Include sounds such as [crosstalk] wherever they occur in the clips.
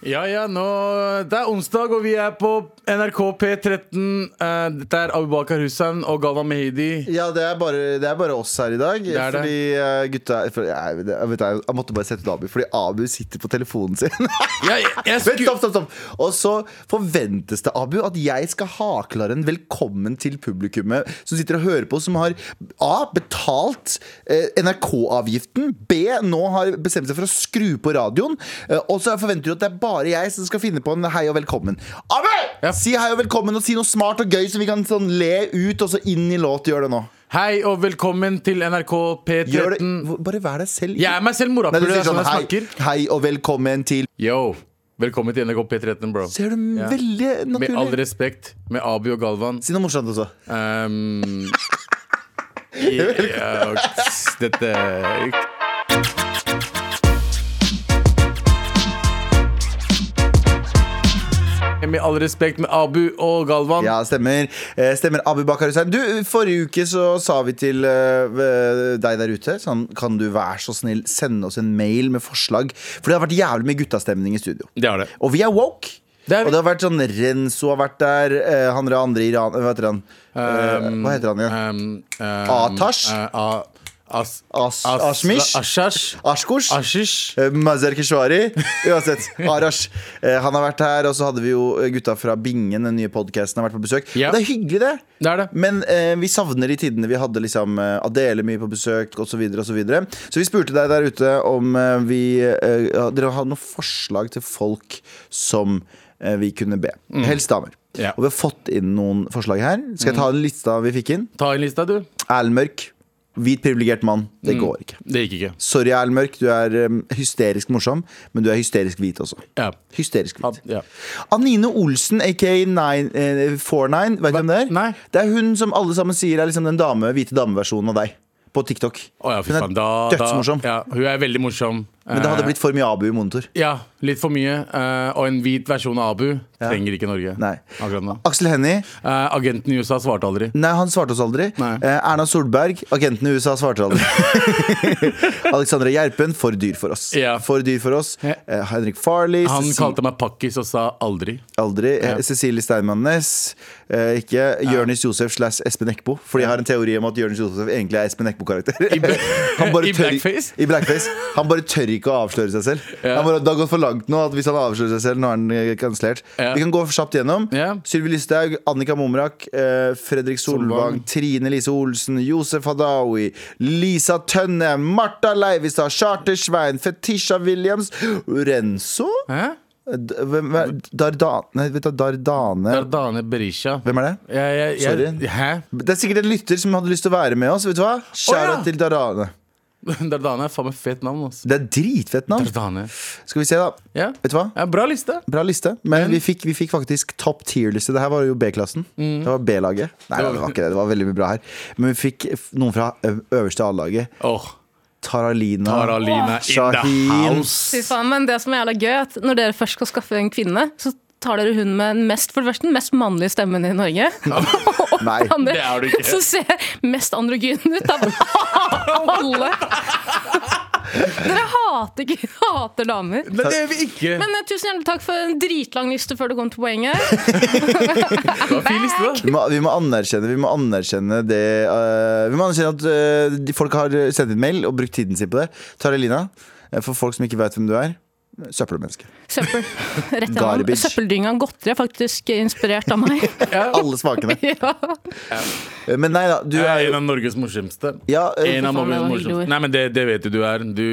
Ja, ja, nå Det er onsdag, og vi er på NRK P13. Eh, dette er Abubakar Hussein og Galvan Mehidi. Ja, det er, bare, det er bare oss her i dag. Det er det. fordi eh, gutta for, jeg, jeg, vet, jeg, jeg måtte bare sette ut Abu, fordi Abu sitter på telefonen sin. [laughs] Ja, jeg, jeg Vent, skulle stopp, stopp, stopp. Og så forventes det, Abu, at jeg skal hakle en velkommen til publikummet som sitter og hører på, som har A. betalt eh, NRK-avgiften. B. nå har bestemt seg for å skru på radioen. Eh, og så forventer du at det er bare jeg som skal finne på en hei og velkommen. Abu! Ja. Si hei og velkommen, og si noe smart og gøy som vi kan sånn le ut, og så inn i låt. Gjør det nå. Hei og velkommen til NRK Gjør det, P13. hvor- bare vær deg selv. Jeg er meg selv, Nei, du morapuler. Det sier er sånn jeg sånn hei, snakker. hei og velkommen til Yo. Velkommen til NRK P13, bro. Ser du Ja. veldig Med all naturlig respekt, med Abi og Galvan. Si noe morsomt også. [laughs] Um, ja, dette Med all respekt med Abu og Galvan. Ja, stemmer. Eh, Stemmer Abu Bakar Hussein. Du, forrige uke så sa vi til eh, deg der ute sånn, Kan du være så snill sende oss en mail med forslag? For det har vært jævlig mye guttastemning i studio. Det har det. Og vi er woke. Det er vi. Og det har vært sånn Renzo har vært der, eh, han der andre Iran Hva heter han? Eh, Hva heter han igjen? Um, um, Atash? eh, a- as- As- as- Ashmish? Ashash? Ashkors? Ashish? Eh, Mazar Keshvari. Uansett, Arash. Eh, Han har vært her, og så hadde vi jo eh, gutta fra Bingen, den nye podkasten, har vært på besøk. Ja. Det er hyggelig, det. Det er det. Men eh, vi savner de tidene vi hadde liksom eh, Adele mye på besøk osv. Så, videre, og så, videre. så vi spurte deg der ute om eh, vi eh, ja, Dere hadde noen forslag til folk som eh, vi kunne be. Helst damer. Mm. Ja. Mm. Og vi har fått inn noen forslag her. Skal jeg ta en lista vi fikk inn? Ta inn lista, du. Erlend Mørk. Hvit privilegert mann. Det Mm. går ikke. Det gikk ikke. Sorry, Erlend Mørk. Du er eh, hysterisk morsom, men du er hysterisk hvit også. Ja. Hysterisk Ab- hvit. ja. Anine Olsen, aka 9, eh, 49, vet du hvem det er? Nei. Det er hun som alle sammen sier er liksom den dame, hvite dameversjonen av deg på TikTok. Å ja, fy Hun er faen. Da, da- dødsmorsom. Ja, hun er veldig morsom. Men det hadde Eh. blitt for mye Abu i monitor. Ja, litt for mye. eh, og en hvit versjon av Abu trenger ikke Norge. Nei. Akkurat nå. Aksel Hennie, Eh, agenten i USA svarte aldri. nei, han svarte oss aldri. Nei. Eh, Erna Solberg, agenten i USA, svarte [laughs] aldri. Alexandra Gjerpen, for dyr for oss. Ja. For dyr for oss. Ja. Eh, Henrik Farley, Han Cecil- kalte meg pakkis og sa aldri. Aldri. Eh, Cecilie Steinmann Næss. Eh, ikke Jonis Josef slash Espen Eckbo. Fordi jeg har en teori om at Jonis Josef egentlig er Espen Eckbo-karakter. [laughs] Han [laughs] bare i tør- blackface? I blackface. Han bare tør ikke å avsløre seg selv. Han bare, det har gått for langt nå at hvis han avslører seg selv, nå er han eh, kansellert. Ja. Vi kan gå kjapt gjennom. Ja. Sylvi Lysthaug, Annika Momrak, eh, Fredrik Solvang. Solvang, Trine Lise Olsen, Josef Hadaoui, Lisa Tønne, Martha Leivestad, Charter Svein, Fetisha Williams, Renzo? Hæ? D- Hvem er Dardane Nei, vet du, Dardane Dardane Berisha. Hvem er det? Jeg, jeg, jeg, Sorry. Hæ? [laughs] Det er sikkert en lytter som hadde lyst til å være med oss. Vet du hva? Kjære ja. til Dardane. Dardane er faen meg fett navn. altså. ass. Det er dritfett navn. Dardane. Skal vi se, da. Ja. Vet du hva? ja, Bra liste. Bra liste. Men vi fikk, vi fikk faktisk topp tier-liste. Det her var jo B-klassen. Mm. Det var B-laget. Nei, det var ikke det. Det var veldig mye bra her. Men vi fikk f- noen fra ø- øverste A-laget. Åh, Taralina. Taralina in the Shahin. Fy house. faen, men det som er jævla gøy, er at når dere først skal skaffe en kvinne, så tar dere hun med den mest, for det første, den mest mannlige stemmen i Norge. [laughs] Og Nei. for andre, Det er du ikke. Så ser mest androgyn ut av alle. Dere hater, ikke- hater damer. Nei, det gjør vi ikke. Men eh, tusen hjertelig takk for en dritlang liste før du kom til poenget. det var fin liste, da. Vi må, vi må anerkjenne Vi må anerkjenne det eh, Vi må anerkjenne at eh, de, folk har sendt inn mail og brukt tiden sin på det. Taralina, eh, for folk som ikke vet hvem du er. Søppelmenneske. Søppel. Rett gjennom. Garbage. Søppeldynga godteri er faktisk inspirert av meg. [laughs] Alle smakene. Ja. Eh, Men nei da, du Jeg er er en jo av Norges morsomste. ja, eh, En av Norges Fy faen, det var morsomste. hyggelige ord. Nei, men det, det vet du du er. Du,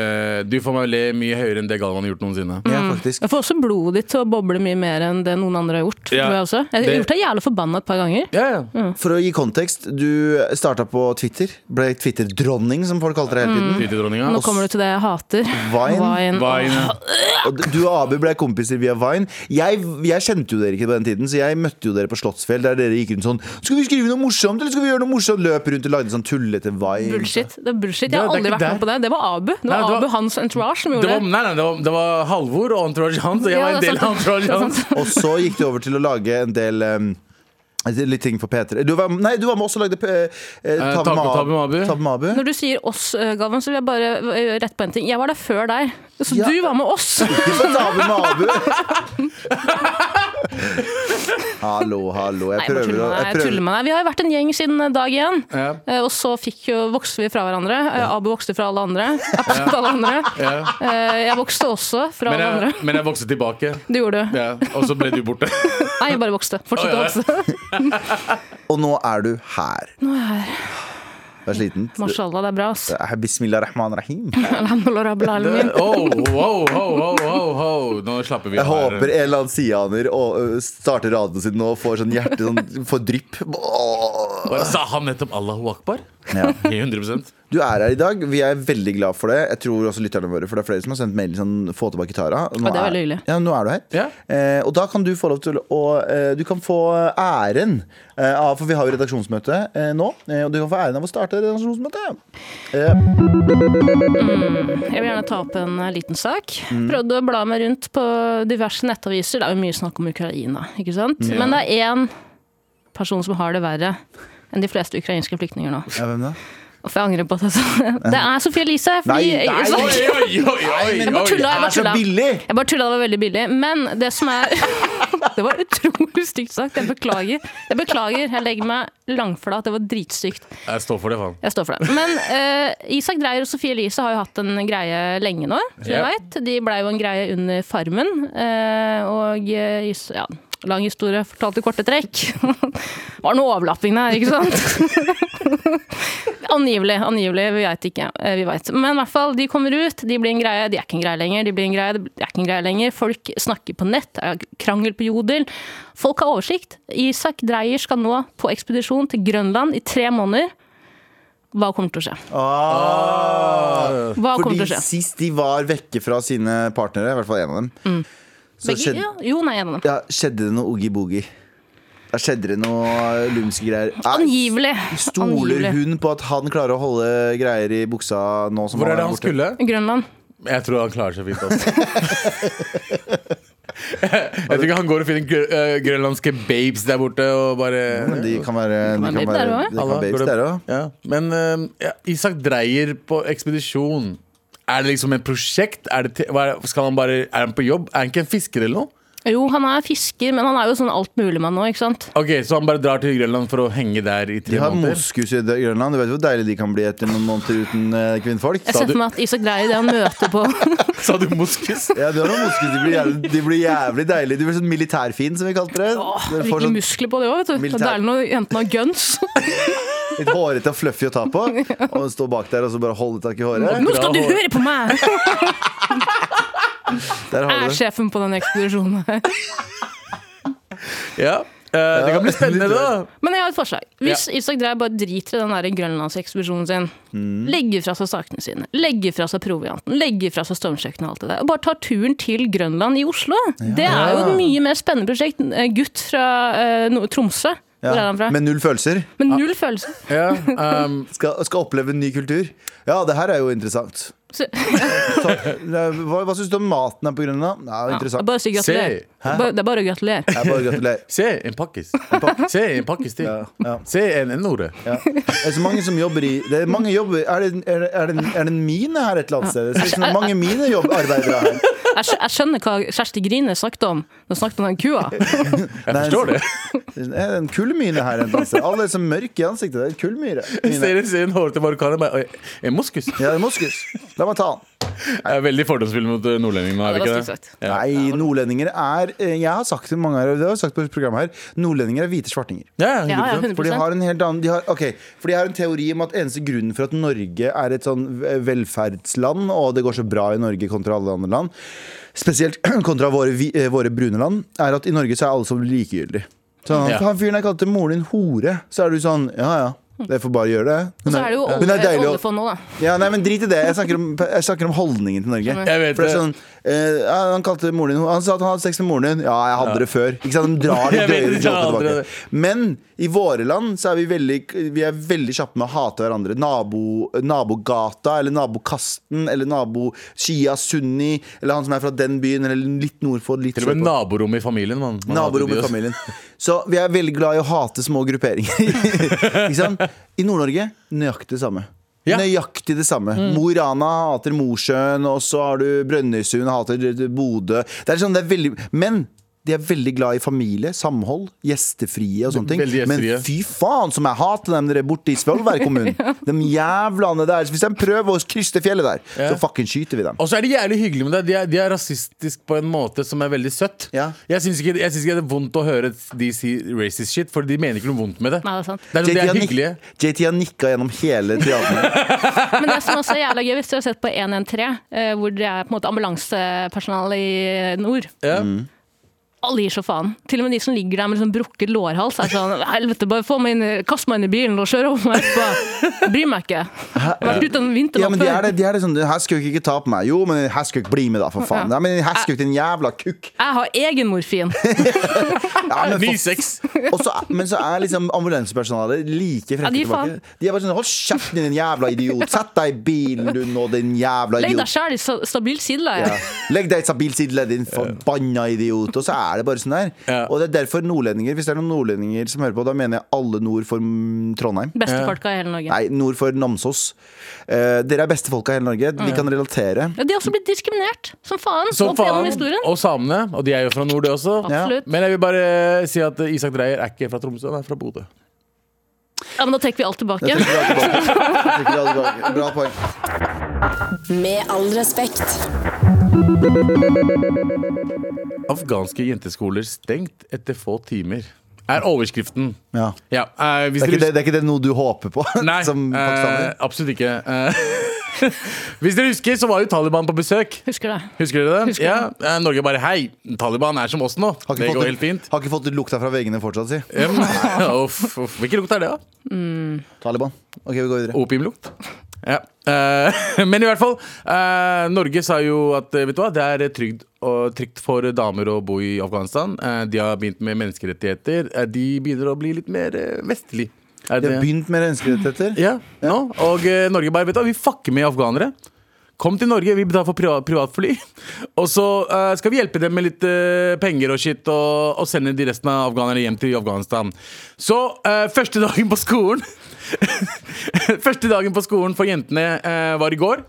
eh, du får meg le mye høyere enn det Galvan har gjort noensinne. ja, faktisk. Jeg får også blodet ditt til å boble mye mer enn det noen andre har gjort. Ja. Tror jeg også. Jeg har Det- gjort deg jævla forbanna et par ganger. Ja, ja. For å gi kontekst, du starta på Twitter. Ble Twitter-dronning, som folk kalte deg hele tiden. Twitterdronninga. Mm. Nå kommer du til det jeg hater. Vine? Mm. Vine. Og du og Abu ble kompiser via Vine. Jeg, jeg kjente jo dere ikke på den tiden, så jeg møtte jo dere på Slottsfjell. Der dere gikk rundt sånn Skal vi skrive noe morsomt, eller skal vi gjøre noe morsomt? Løp rundt og lagde sånn tullete Vine. Bullshit. Det er bullshit. Jeg Det- har det er aldri ikke vært med der. på det. Det var Abu. Det var, Nei, det var- Abu hans entourage som Det gjorde var, det. nei, nei, det var, det var Halvor og Entourage Hans, og jeg Ja, var en det er del av sant. Entourage Hans. Og så gikk det over til å lage en del um, Litt ting for Peter. Du var, nei, du var med oss og lagde eh, eh, Taco Tabu Mabu. Tabu Mabu. Når du sier oss, eh, Galvan, så vil jeg bare eh, rette på en ting. Jeg var der før deg, så Ja. du var med oss. Ikke for Tabu Mabu! hallo, hallo. Jeg Nei, jeg bare prøver å tuller med deg. jeg Jeg tuller prøver. med deg. Vi har jo vært en gjeng siden eh, dag én. Ja. Eh, Og så fikk jo, vokste vi fra hverandre. Eh, Abu vokste fra alle andre. [laughs] Jeg, vokste fra alle andre. Ja. Eh, jeg vokste også fra Men alle jeg, andre. men jeg vokste tilbake. Det gjorde du. Ja, og så ble du borte. Nei, jeg bare vokste. Fortsett å Å, ja. vokse. [laughs] Og nå er du her. Nå er jeg her. Vær sliten. Mashallah, det er bra, ass. Eh, Bismillah rahman rahim. Alhamdulillah, rabbil alamin. [laughs] Oh, wow, wow, wow, wow, wow. Nå slapper vi Jeg av her. håper en eller annen sianer og, ø, starter radioen sin og får sånn hjerte sånn, får drypp. Åh. Hva Sa han nettopp Allahu akbar? [laughs] Ja. [laughs] 100 Du er her i dag. Vi er veldig glad for det. Jeg tror også lytterne våre, for det er flere som har sendt mail sånn, få tilbake Tara. Nå Ja, det er veldig hyggelig. Ja, nå er du her. Ja. Eh, og da kan du få lov til å eh, Du kan få æren eh, av For vi har jo redaksjonsmøte eh, nå, eh, og du kan få æren av å starte redaksjonsmøtet. Jeg vil gjerne ta opp en eh, liten sak. Mm. Prøvde å bla meg rundt på diverse nettaviser. Det er jo mye snakk om Ukraina, ikke sant? Men det er én person som har det verre enn de fleste ukrainske flyktninger nå. Ja, hvem da? Uff, jeg angrer på at jeg [laughs] sa det. Det er Sofie Elise. Fordi, Nei, nei, Så- Oi, oi, oi, oi, Jeg oi. bare tulla. Jeg Det bare er så tulla. billig! Jeg bare tulla, det var veldig billig. Men det som er [laughs] Det var utrolig stygt sagt. Jeg beklager. Jeg beklager, jeg legger meg langflat. Det var dritstygt. Jeg står for det, faen. Jeg står for det. Men eh, Isak Dreyer og Sofie Elise har jo hatt en greie lenge nå, som Ja. jeg vet. De blei jo en greie under Farmen. eh, og eh, is ja, lang historie fortalt i korte trekk. [laughs] Det var noe overlapping der, ikke sant? [laughs] angivelig. Angivelig. Vi veit ikke. Eh, vi vet. Men i hvert fall, de kommer ut, de blir en greie. De er ikke en greie lenger. De blir en greie, de er ikke en greie lenger. Folk snakker på nett, det er krangel på Jodel. Folk har oversikt. Isak Dreyer skal nå på ekspedisjon til Grønland i tre måneder. Hva kommer til å skje? Ah. Hva kommer Fordi til å skje? sist de var vekke fra sine partnere, i hvert fall en av dem, så Mm. Begge, skjedde, ja, jo, nei, en av dem. ja, skjedde det noe oogie-boogie. Da skjedde det noe lumske greier. Er- Angivelig. Stoler Angivelig. hun på at han klarer å holde greier i buksa nå som Hvor er det han borte? skulle? Grønland. Jeg tror han klarer seg fint. Altså. [laughs] jeg tror ikke han går og finner grø eh, grønlandske babes der borte og bare Men De kan være, de være kan babe være, der også, ja. de kan være babes der òg. Ja. Men eh, ja, Isak Dreyer på ekspedisjon. Er det liksom et prosjekt? Er, det te- hva er, det- skal han bare, er han på jobb? Er han ikke en fisker eller noe? Jo, han er fisker, men han er jo sånn altmuligmann nå, ikke sant? Ok, Så han bare drar til Grønland for å henge der i De tre har måneder? moskus i Grønland. Du vet hvor deilig de kan bli etter noen måneder uten eh, kvinnfolk? Jeg ser du- for meg at Isak Dreyer, det han møter [laughs] på [laughs] Sa du moskus? Ja, de, har noen moskus. De, blir jævlig, de blir jævlig deilige. De blir sånn militærfin, som vi kalte det. De får Virkelig sånn muskler på det òg, vet du. Militær. Det er noe, enten av guns litt hårete og fluffy å ta på. [laughs] Og stå bak der og så bare holde tak i håret. Nå skal du høre på meg! [laughs] Der har Er du det. sjefen på den ekspedisjonen her. Ja. Eh, det kan [laughs] bli spennende, da. Men jeg har et forslag. Hvis Isak Dreyer bare driter i den der grønlandsekspedisjonen sin, Mm. legger fra seg sakene sine, legger fra seg provianten, legger fra seg stormkjøkkenet og alt det der, og bare tar turen til Grønland i Oslo Det er jo et mye mer spennende prosjekt. En, eh, Gutt fra eh, Nord- Tromsø. Ja. Ah. Hvor er han fra? Med null følelser. Med null følelse. Ja, ehm, Skal, skal oppleve en ny kultur. Ja, det her er jo interessant. Så, Så, hva hva syns du om maten her på Grønland? Ja, ja, det er [laughs] interessant. bare å si gratulerer. Se. Bare- Det er bare å gratulere. Jeg bare gratulerer. se en pakkis. Se en pakkis til. Ja, ja. Se en N-ordet. Ja. Det er så mange som jobber i Det er mange jobber Er det, er det, er det, en, er det en mine her et eller annet sted? Det er sånn mange minearbeidere her. Jeg, skj- jeg skjønner hva Kjersti Grine snakket om. Hun snakket om [laughs] den kua. Jeg forstår sånn- det. Det er en kullmine her et eller annet sted. Alle er så mørke i ansiktet. Det er en kullmyre. Jeg Mine. ser, ser en hårete marokkaner bare, «Oi, En [laughs] moskus? Ja, det er moskus. La meg ta den. Jeg er veldig fordomsfull mot eh, nordlendinger. nå, Ja, Er det vi var ikke det? stygt sagt. Nei, nordlendinger er eh, Jeg har sagt det mange ganger, det har jeg sagt på programmet her, nordlendinger er hvite svartinger. Ja, Ja, ja, 100%. For de 100%. har en helt annen de har, ok, for de har en teori om at eneste grunnen for at Norge er et sånn velferdsland, og det går så bra i Norge kontra alle andre land, spesielt [clears throat] kontra våre, vi- eh, våre brune land, er at i Norge så er alle som likegyldig. Sånn, Ja. Han fyren jeg kalte moren din hore, så er du sånn ja ja, det får bare gjøre det. Mm. Og så er det jo hun er deilig olje- å oljefond nå, da. ja, nei, men drit i det. Jeg snakker om, jeg snakker om holdningen til Norge. Jeg vet For det det. er sånn, eh, ja, han kalte moren din Han sa at han hadde sex med moren din. Ja, jeg hadde det før. Ikke sant? [laughs] De drar de Jeg vet drøyere det, jeg har jokene aldri tilbake. Men i våre land så er vi veldig Vi er veldig kjappe med å hate hverandre. Nabo, nabogata eller nabokasten eller nabo Shia Sunni eller han som er fra den byen eller litt nord for litt Til og med sør for. naborommet i familien. Man, man Naborommet hater de i også. familien. Så vi er veldig glad i å hate små grupperinger. [laughs] Ikke sant? I Nord-Norge nøyaktig det samme. Ja. Mm. Nøyaktig det samme. Mo i Rana hater Mosjøen, og så har du Brønnøysund hater Bodø. Det er sånn, det er veldig Men de er veldig glad i familie, samhold, gjestefrie og sånne Veldig ting. Men gjestfrie. fy faen som jeg hater dem dere borte i [laughs] Svolvær kommune! De jævlene der. Hvis de prøver å krysse det fjellet der, så fucking skyter vi dem. Og så er de jævlig hyggelige med deg. De er, de er rasistisk på en måte som er veldig søtt. Ja. Jeg syns ikke, jeg syns ikke det er vondt å høre de si racist shit, for de mener ikke noe vondt med det. Nei, det er sant. Det er, de har er nik- hyggelige. JT har nikka gjennom hele teateret. Men det som også er jævla gøy, hvis du har sett på 113, eh, hvor det er på en måte ambulansepersonale i eh, nord. Ja. Alle gir så faen. Til og med de som ligger der med liksom brukket lårhals. er sånn, helvete, bare få meg inn, i- Kast meg inn i bilen og kjør over meg. Bare, bryr meg ikke. Jeg har vært ute en vinter Ja, men de er det, de er det sånn Her skal jo ikke ta på meg. Jo, men her skal jo ikke bli med, da, for faen. Nei, men her skal jo ikke din jævla [laughs] kukk. Jeg har [laughs] egen morfin. Ja, men, Ny for, sex. og så- men så er liksom ambulansepersonalet like frekke Ja, de er tilbake. faen. De er bare sånn Hold kjeften din, din jævla idiot. Sett deg i bilen, du nå, din jævla Legg deg idiot. sjæl i sta- stabil sideleie. Ja. Legg deg i stabilsidle, din forbanna idiot. Og så er det bare sånn her. Ja. Og det er derfor nordlendinger, hvis det er noen nordlendinger som hører på, da mener jeg alle nord for mm, Trondheim. Beste folka i hele Norge. Nei, nord for Namsos. Eh, dere er beste folka i hele Norge. Vi kan relatere. Ja, de har også blitt diskriminert som faen. Som opp faen. gjennom historien. Og samene. Og de er jo fra nord, det også. Ja. Absolutt. Men jeg vil bare si at Isak Dreyer er ikke fra Tromsø, han er fra Bodø. Ja, men da trekker vi alt tilbake. Jeg trekker det tilbake. Jeg trekker det tilbake. Bra poeng. Med all respekt. Afghanske jenteskoler stengt etter få timer. Er overskriften. Ja. Ja, eh, hvis Det er, dere- ikke det, det er ikke det noe du håper på? [laughs] Nei, som eh, pakistaner? absolutt ikke. Eh, [laughs] hvis dere husker, så var jo Taliban på besøk. [laughs] Husker det. Husker dere det? Husker ja, eh, Norge bare hei, Taliban er som oss nå. Har Det ikke, går fått, helt fint. har ikke fått lukta fra veggene fortsatt, si. Em, [laughs] uff, uff. Hvilken lukt er det, da? Taliban. Ok, vi går videre. Opiumlukt. Ja. eh, [laughs] men i hvert fall, eh, Norge sa jo at eh, vet du hva, det er trygt, og, trygt for damer å bo i Afghanistan. Eh, de har begynt med menneskerettigheter. Eh, de begynner å bli litt mer uh, vestlig. Er Vi har begynt med menneskerettigheter. Ja, nå. Og eh, Norge bare, vet du hva, vi fucker med afghanere. Kom til Norge, vi betaler for priva- privatfly. [laughs] Og så eh, skal vi hjelpe dem med litt eh, penger og shit, og, og sende de resten av afghanerne hjem til Afghanistan. Så eh, første dagen på skolen [laughs] Første dagen på skolen for jentene eh, var i går.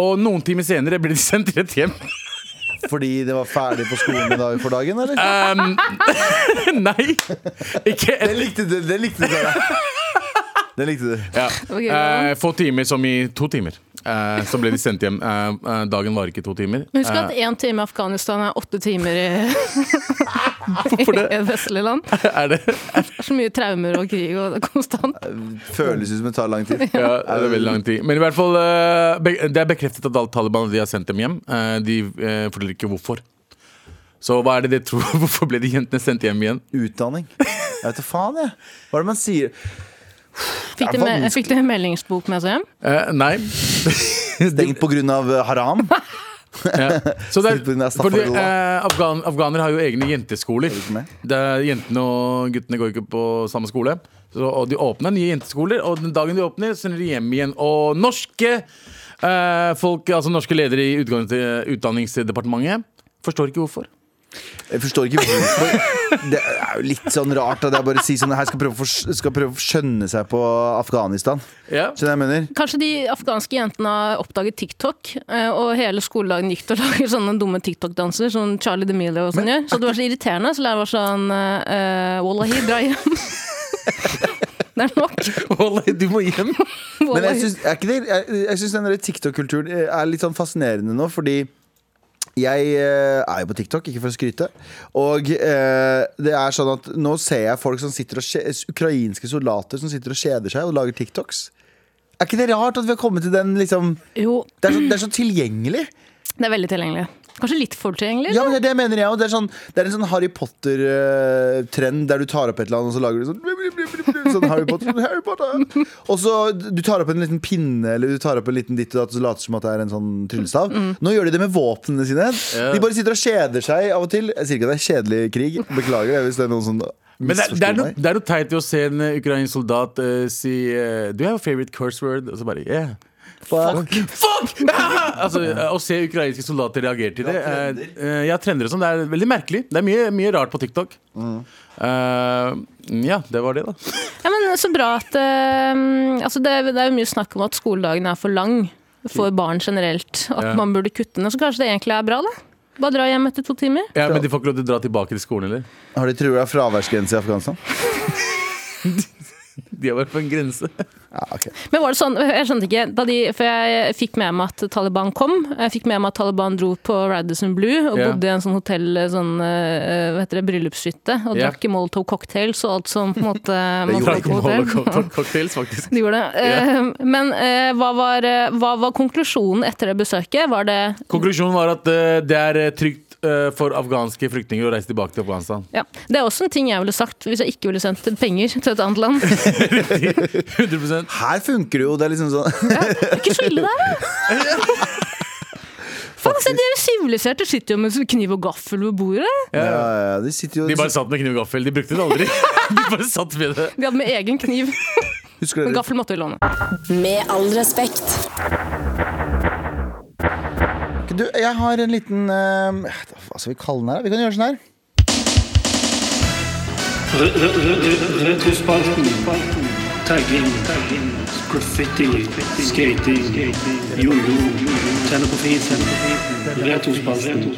Og noen timer senere ble de sendt rett hjem. [laughs] Fordi det var ferdig på skolen i dag for dagen, eller? Um, nei, ikke Det likte du. Det likte du. Sara. Det likte du. Ja. Ok, Eh, få timer som i to timer. Eh, så ble de sendt hjem. Eh, eh, dagen var ikke to timer. Men Husk Eh, at én time i Afghanistan er åtte timer i, [laughs] i vestlige land. Det [laughs] er det, er så mye traumer og krig og det er konstant. Føles ut som det tar lang tid. ja, det er veldig lang tid. Men i hvert fall, eh, be- det er bekreftet at alle Taliban de har sendt dem hjem. Eh, de eh, forteller ikke hvorfor. Så hva er det de tror? [laughs] Hvorfor ble de jentene sendt hjem igjen? Utdanning. Jeg vet da faen, jeg. Hva er det man sier? Fikk Det er de, me- vanskelig. fikk de meldingsbok med seg hjem? Eh, nei. Stengt på grunn av haram? Ja. Så det Sitter på den der er, fordi, staffagården. eh, afghan, afghanere har jo egne jenteskoler. du ikke med? Det er, jentene og guttene går ikke på samme skole. Så, og de åpner nye jenteskoler, og den dagen de åpner, sender de hjem igjen. Og norske eh, folk, altså norske ledere i utgang- Utdanningsdepartementet forstår ikke hvorfor. Jeg forstår ikke hvorfor Det er jo litt sånn rart at jeg bare sier sånn Her skal prøve å, fors- skal prøve å skjønne seg på Afghanistan Ja. [laughs] Skjønner du hva jeg mener? Kanskje de afghanske jentene har oppdaget TikTok, eh, og hele skoledagen gikk til å [laughs] lage sånne dumme TikTok-danser som Charlie D'Amelio og sånn gjør. Så det var så irriterende, så læreren var sånn eh, Wallahi, dra hjem. [laughs] det er nok. Du må hjem. Men jeg Wallahi. syns, er ikke det, jeg, jeg synes den der TikTok-kulturen er litt sånn fascinerende nå Fordi jeg eh, er jo på TikTok, ikke for å skryte Og eh, det er sånn at Nå ser jeg folk som sitter og kje- Ukrainske soldater som sitter og kjeder seg Og lager TikToks Er ikke det rart at vi har kommet til den liksom Jo, Det er så, det er så tilgjengelig det er veldig tilgjengelig. Kanskje litt for tilgjengelig? Ja, men det, det mener jeg også. Det, er sånn, det er en sånn Harry Potter-trend der du tar opp et eller annet, og så lager du sånn, blub, blub, blub, blub, blub, sånn Harry Potter, Harry Potter. Og så du tar opp en liten pinne, eller du tar opp en liten ditt og datt, og så later du som at det er en sånn tryllestav. Nå gjør de det med våpnene sine. De bare sitter og kjeder seg av og til. Jeg sier ikke at det er kjedelig krig. Beklager det hvis det er noen som Men det, er- det, er misforstår noe, meg. det er noe teit i å se en eh, ukrainsk soldat eh, si eh, Do you have a favorite curse word? Og så bare yeah. [laughs] Fuck. Fuck! altså, å se ukrainske soldater reagere til det eh, eh, Ja, trender og sånn. Det er veldig merkelig. Det er mye, mye rart på TikTok. Eh, ja, det var det, da. Ja, men Så bra at eh, altså det, er- det er jo mye snakk om at skoledagen er for lang for barn generelt. At Ja. man burde kutte den. Så kanskje det egentlig er bra, da? Bare dra hjem etter to timer. Ja, men de får ikke lov til å dra tilbake til skolen, eller? Har de trua fraværsgrense i Afghanistan? De har vært på en [laughs] grense. Ja, ok Men var det sånn, jeg skjønte ikke, da de, for jeg fikk med meg at Taliban kom. Jeg fikk med meg at Taliban dro på Radisson Blue og Ja. bodde i en sånn hotell, sånn, eh, hva heter det, bryllupshytte. Og Ja. drakk i Molotov cocktails og alt som på en måte Det man gjorde får Drakk på hotell. [laughs] holocaust-cocktails, faktisk. De gjorde det. Eh, Men eh, hva var, eh, hva var konklusjonen etter det besøket? Var det Konklusjonen var at eh, det er eh, trygt eh, for afghanske flyktninger å reise tilbake til Afghanistan. [laughs] ja. Det er også en ting jeg ville sagt hvis jeg ikke ville sendt penger til et annet land. 100 Her funker det jo. Det er liksom sånn Det er ikke så ille der, da! Faen, se, de er jo siviliserte. Sitter jo med sånn kniv og gaffel ved bordet. ja, ja, ja, De sitter jo De bare satt med kniv og gaffel. De brukte det aldri. [laughs] De bare satt med det. De hadde med egen kniv. [laughs] Husker Men dere gaffel måtte vi låne. Med all respekt. Du, jeg har en liten eh, Hva skal vi kalle den her? Vi kan gjøre sånn her. Retrospalten. Tagging. Graffiti. Skating. Jojo. Tenne på fisen. Retrospalten.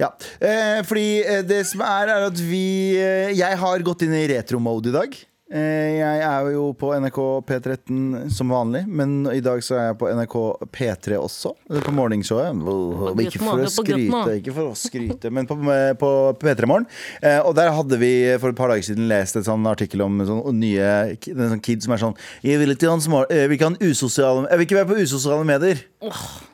Ja, eh, fordi eh, det som er, er at vi eh, Jeg har gått inn i retro-mode i dag. Eh, jeg er jo på NRK P13 som vanlig, men i dag så er jeg på NRK P3 også. Eller På morgenshowet. Wow, Ikke for å Guttmann, på skryte, Guttmann. ikke for å skryte men på, på P3 Morgen. Eh, og der hadde vi for et par dager siden lest et sånn artikkel om en sånn nye En sånn kid som er sånn Jeg vil ikke ha, en smart, eh, jeg vil ikke, ha en usosiale, jeg vil ikke være på usosiale medier.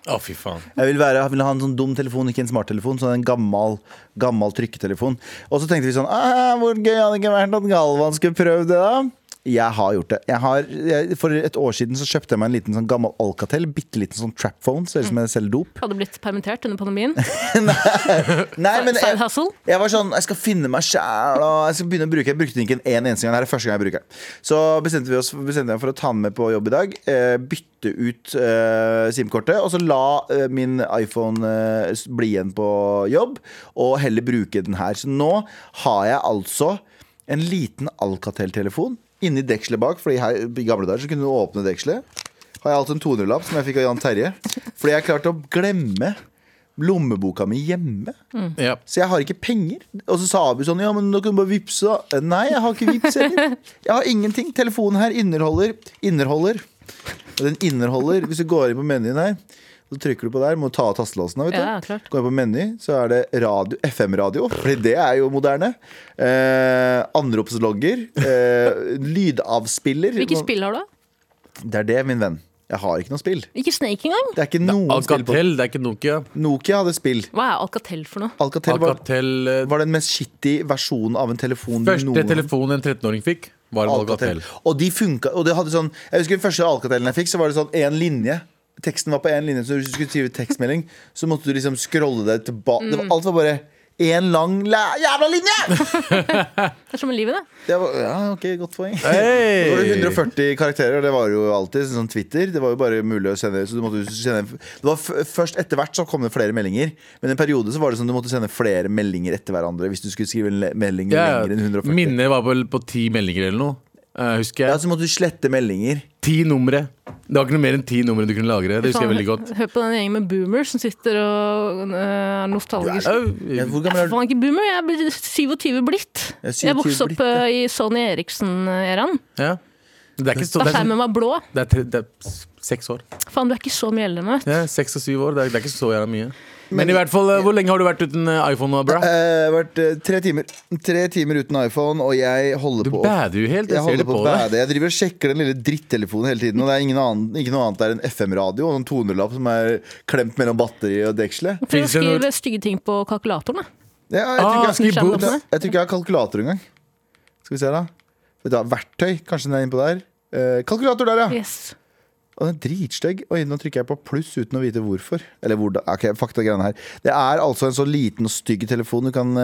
Å, fy faen. Jeg vil, være, jeg vil ha en sånn dum telefon, ikke en smarttelefon. Sånn en gammel, gammel trykketelefon. Og så tenkte vi sånn «Ah, Hvor gøy hadde det ikke vært at Galvan skulle prøvd det, da? Jeg har gjort det. Jeg har, jeg, for et år siden så kjøpte jeg meg en liten sånn gammel Alcatel. Bitte liten sånn trapphone. Ser ut som jeg selger dop. Hadde blitt permittert under pandemien. Nei, men Side jeg, hustle. jeg var sånn Jeg skal finne meg sjæl, og jeg skal begynne å bruke Jeg brukte den ikke en eneste gang. Det her er første gang jeg bruker den. Så bestemte vi oss bestemte jeg for å ta den med på jobb i dag. Eh, bytte ut eh, SIM-kortet, og så la eh, min iPhone eh, s- bli igjen på jobb, og heller bruke den her. Så nå har jeg altså en liten Alcatel-telefon inni dekselet bak, Fordi her i gamle dager så kunne du åpne dekselet. Har jeg altså en 200-lapp som jeg fikk av Jan Terje. Fordi jeg klarte å glemme lommeboka mi hjemme. Mm. Ja. Så jeg har ikke penger. Og så sa Abu sånn Ja, men da kan du bare vippse, da. Eh, Nei, jeg har ikke vips heller. Jeg har ingenting. Telefonen her inneholder Inneholder. Og den inneholder Hvis du går inn på menyen her, så trykker du på der. Må ta av tastelåsen, da, vet du. Ja, klart. Går inn på meny, så er det radio, FM-radio, Fordi det er jo moderne. Eh, anropslogger. Eh, lydavspiller. Hvilke spill har du? Det er det, min venn. Jeg har ikke noe spill. Ikke Snake engang? Det er ikke noen spill på Alcatel, det er ikke Nokia. Nokia hadde spill. Hva er Alcatel for noe? Alcatel var, Alcatel eh, var den mest shitty versjonen av en telefon du Første noen- telefonen en 13-åring fikk, var en Alcatel. Alcatel. Og de funka, og det hadde sånn Jeg husker den første Alcatelen jeg fikk, så var det sånn én linje. Teksten var på én linje, så hvis du skulle skrive tekstmelding, så måtte du liksom scrolle deg tilbake. Det var, alt var bare én lang læ jævla linje! Det er som i livet, det. Det var, ja, ok, godt poeng. Hey! Det var 140 karakterer, og det var jo alltid sånn som Twitter. Det var jo bare mulig å sende Så du måtte jo sende Det var f først etter hvert så kom det flere meldinger. Men i en periode så var det sånn du måtte sende flere meldinger etter hverandre hvis du skulle skrive en le- melding Ja, lenger enn 140. minnet var vel på ti meldinger eller noe. eh, husker Ja, jeg. så måtte du slette meldinger. Ti numre. Det var ikke noe mer enn ti numre du kunne lagre. Det husker jeg veldig godt. Hør på den gjengen med boomers som sitter og øh, er nostalgisk. Ja, Au. hvor Jeg gammel er er du? faen ikke boomer, jeg er blitt 27 blitt. Jeg er 27 Jeg vokste opp blitt, ja. øh, i Sony Eriksen-æraen. Ja. Det er ikke så Det er, Da sånn- skjermen var blå. det er, tre- det er seks år. Faen, du er ikke så mye eldre enn meg. Ja, Seks og syv år. Det er, det er ikke så jævla mye. Men i hvert fall, eh, hvor lenge har du vært uten eh, iPhone nå, bra? Eh, Jeg har vært eh, tre timer Tre timer uten iPhone, og jeg holder Du på å- bader jo helt. Jeg jeg ser holder det på på å deg. bæde. Jeg driver og sjekker den lille drittelefonen hele tiden. Og det er ingen annen, ikke noe annet der enn FM-radio og en 200-lapp som er klemt mellom batteri og dekselet. Prøv å Finnes det noe- skrive stygge ting på kalkulatoren, da. Ja, jeg, Ah, tror ikke jeg, skriv jeg, bok. tror ikke jeg har kalkulator engang. Skal vi se, da. Vet du hva, Verktøy. Kanskje den er innpå der. Eh, kalkulator der, ja. Yes. Og den er dritstygg. Oi, nå trykker jeg på pluss uten å vite hvorfor. Eller hvordan. Ok, fuck det greiene her. Det er altså en så liten og stygg telefon du kan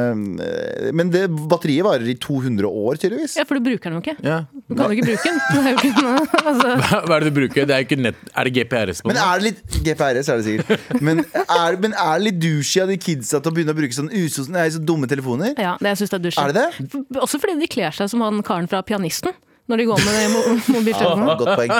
eh, Men det, batteriet varer i 200 år, tydeligvis. Ja, for du bruker den jo ikke. Ja. Du kan jo ikke bruke den. Det er jo ikke noe, altså. [laughs] Hva er det du bruker? Det er, jo ikke nett, er det GPRS på Men den? er det litt GPRS er det sikkert. Men er, men er det litt douchey av de kidsa til å begynne å bruke sånn usosen, nei, så dumme telefoner? Ja, det jeg synes det er dusjen. Er det det? F- Også fordi de kler seg som han karen fra Pianisten når de går med det i mo [laughs] mobiltelefonen. Godt poeng.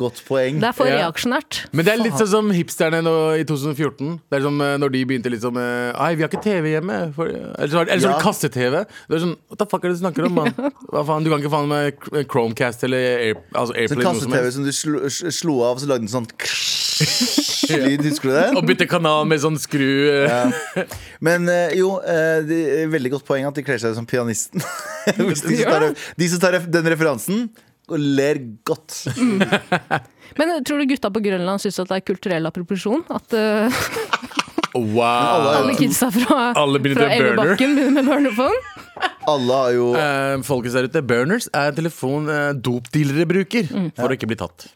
Godt poeng. Det er for Ja. reaksjonært. Men det er litt sånn som hipsterne nå, i 2014. Det er som eh, når de begynte litt sånn eh, Hei, vi har ikke TV hjemme. For, eller så var det- eller så var det Ja. kaste-TV. Det er sånn, What the fuck er det du snakker om, [laughs] mann? Hva faen, Du kan ikke faen med Chr- Chromecast eller Air, altså Sånn Airplay. noe som kasse-TV helst. som du slo, s- slo av, så lagde den sånn [laughs] lyd. Husker du Og den? bytte kanal med sånn skru. eh. Men eh, jo, eh, de, veldig godt poeng at de kler seg som pianisten. [laughs] Hvis de, som tar, de som tar ref- den referansen, og ler godt. Men eh, tror du gutta på Grønland syns at det er kulturell appropriasjon? At eh, [laughs] Wow. alle kidsa fra, Alle begynner fra med burner. Elvebakken begynner med [laughs] burnerphone? Alle har jo Eh, folkens der ute, burners er en telefon eh, dopdealere bruker for å ikke bli tatt.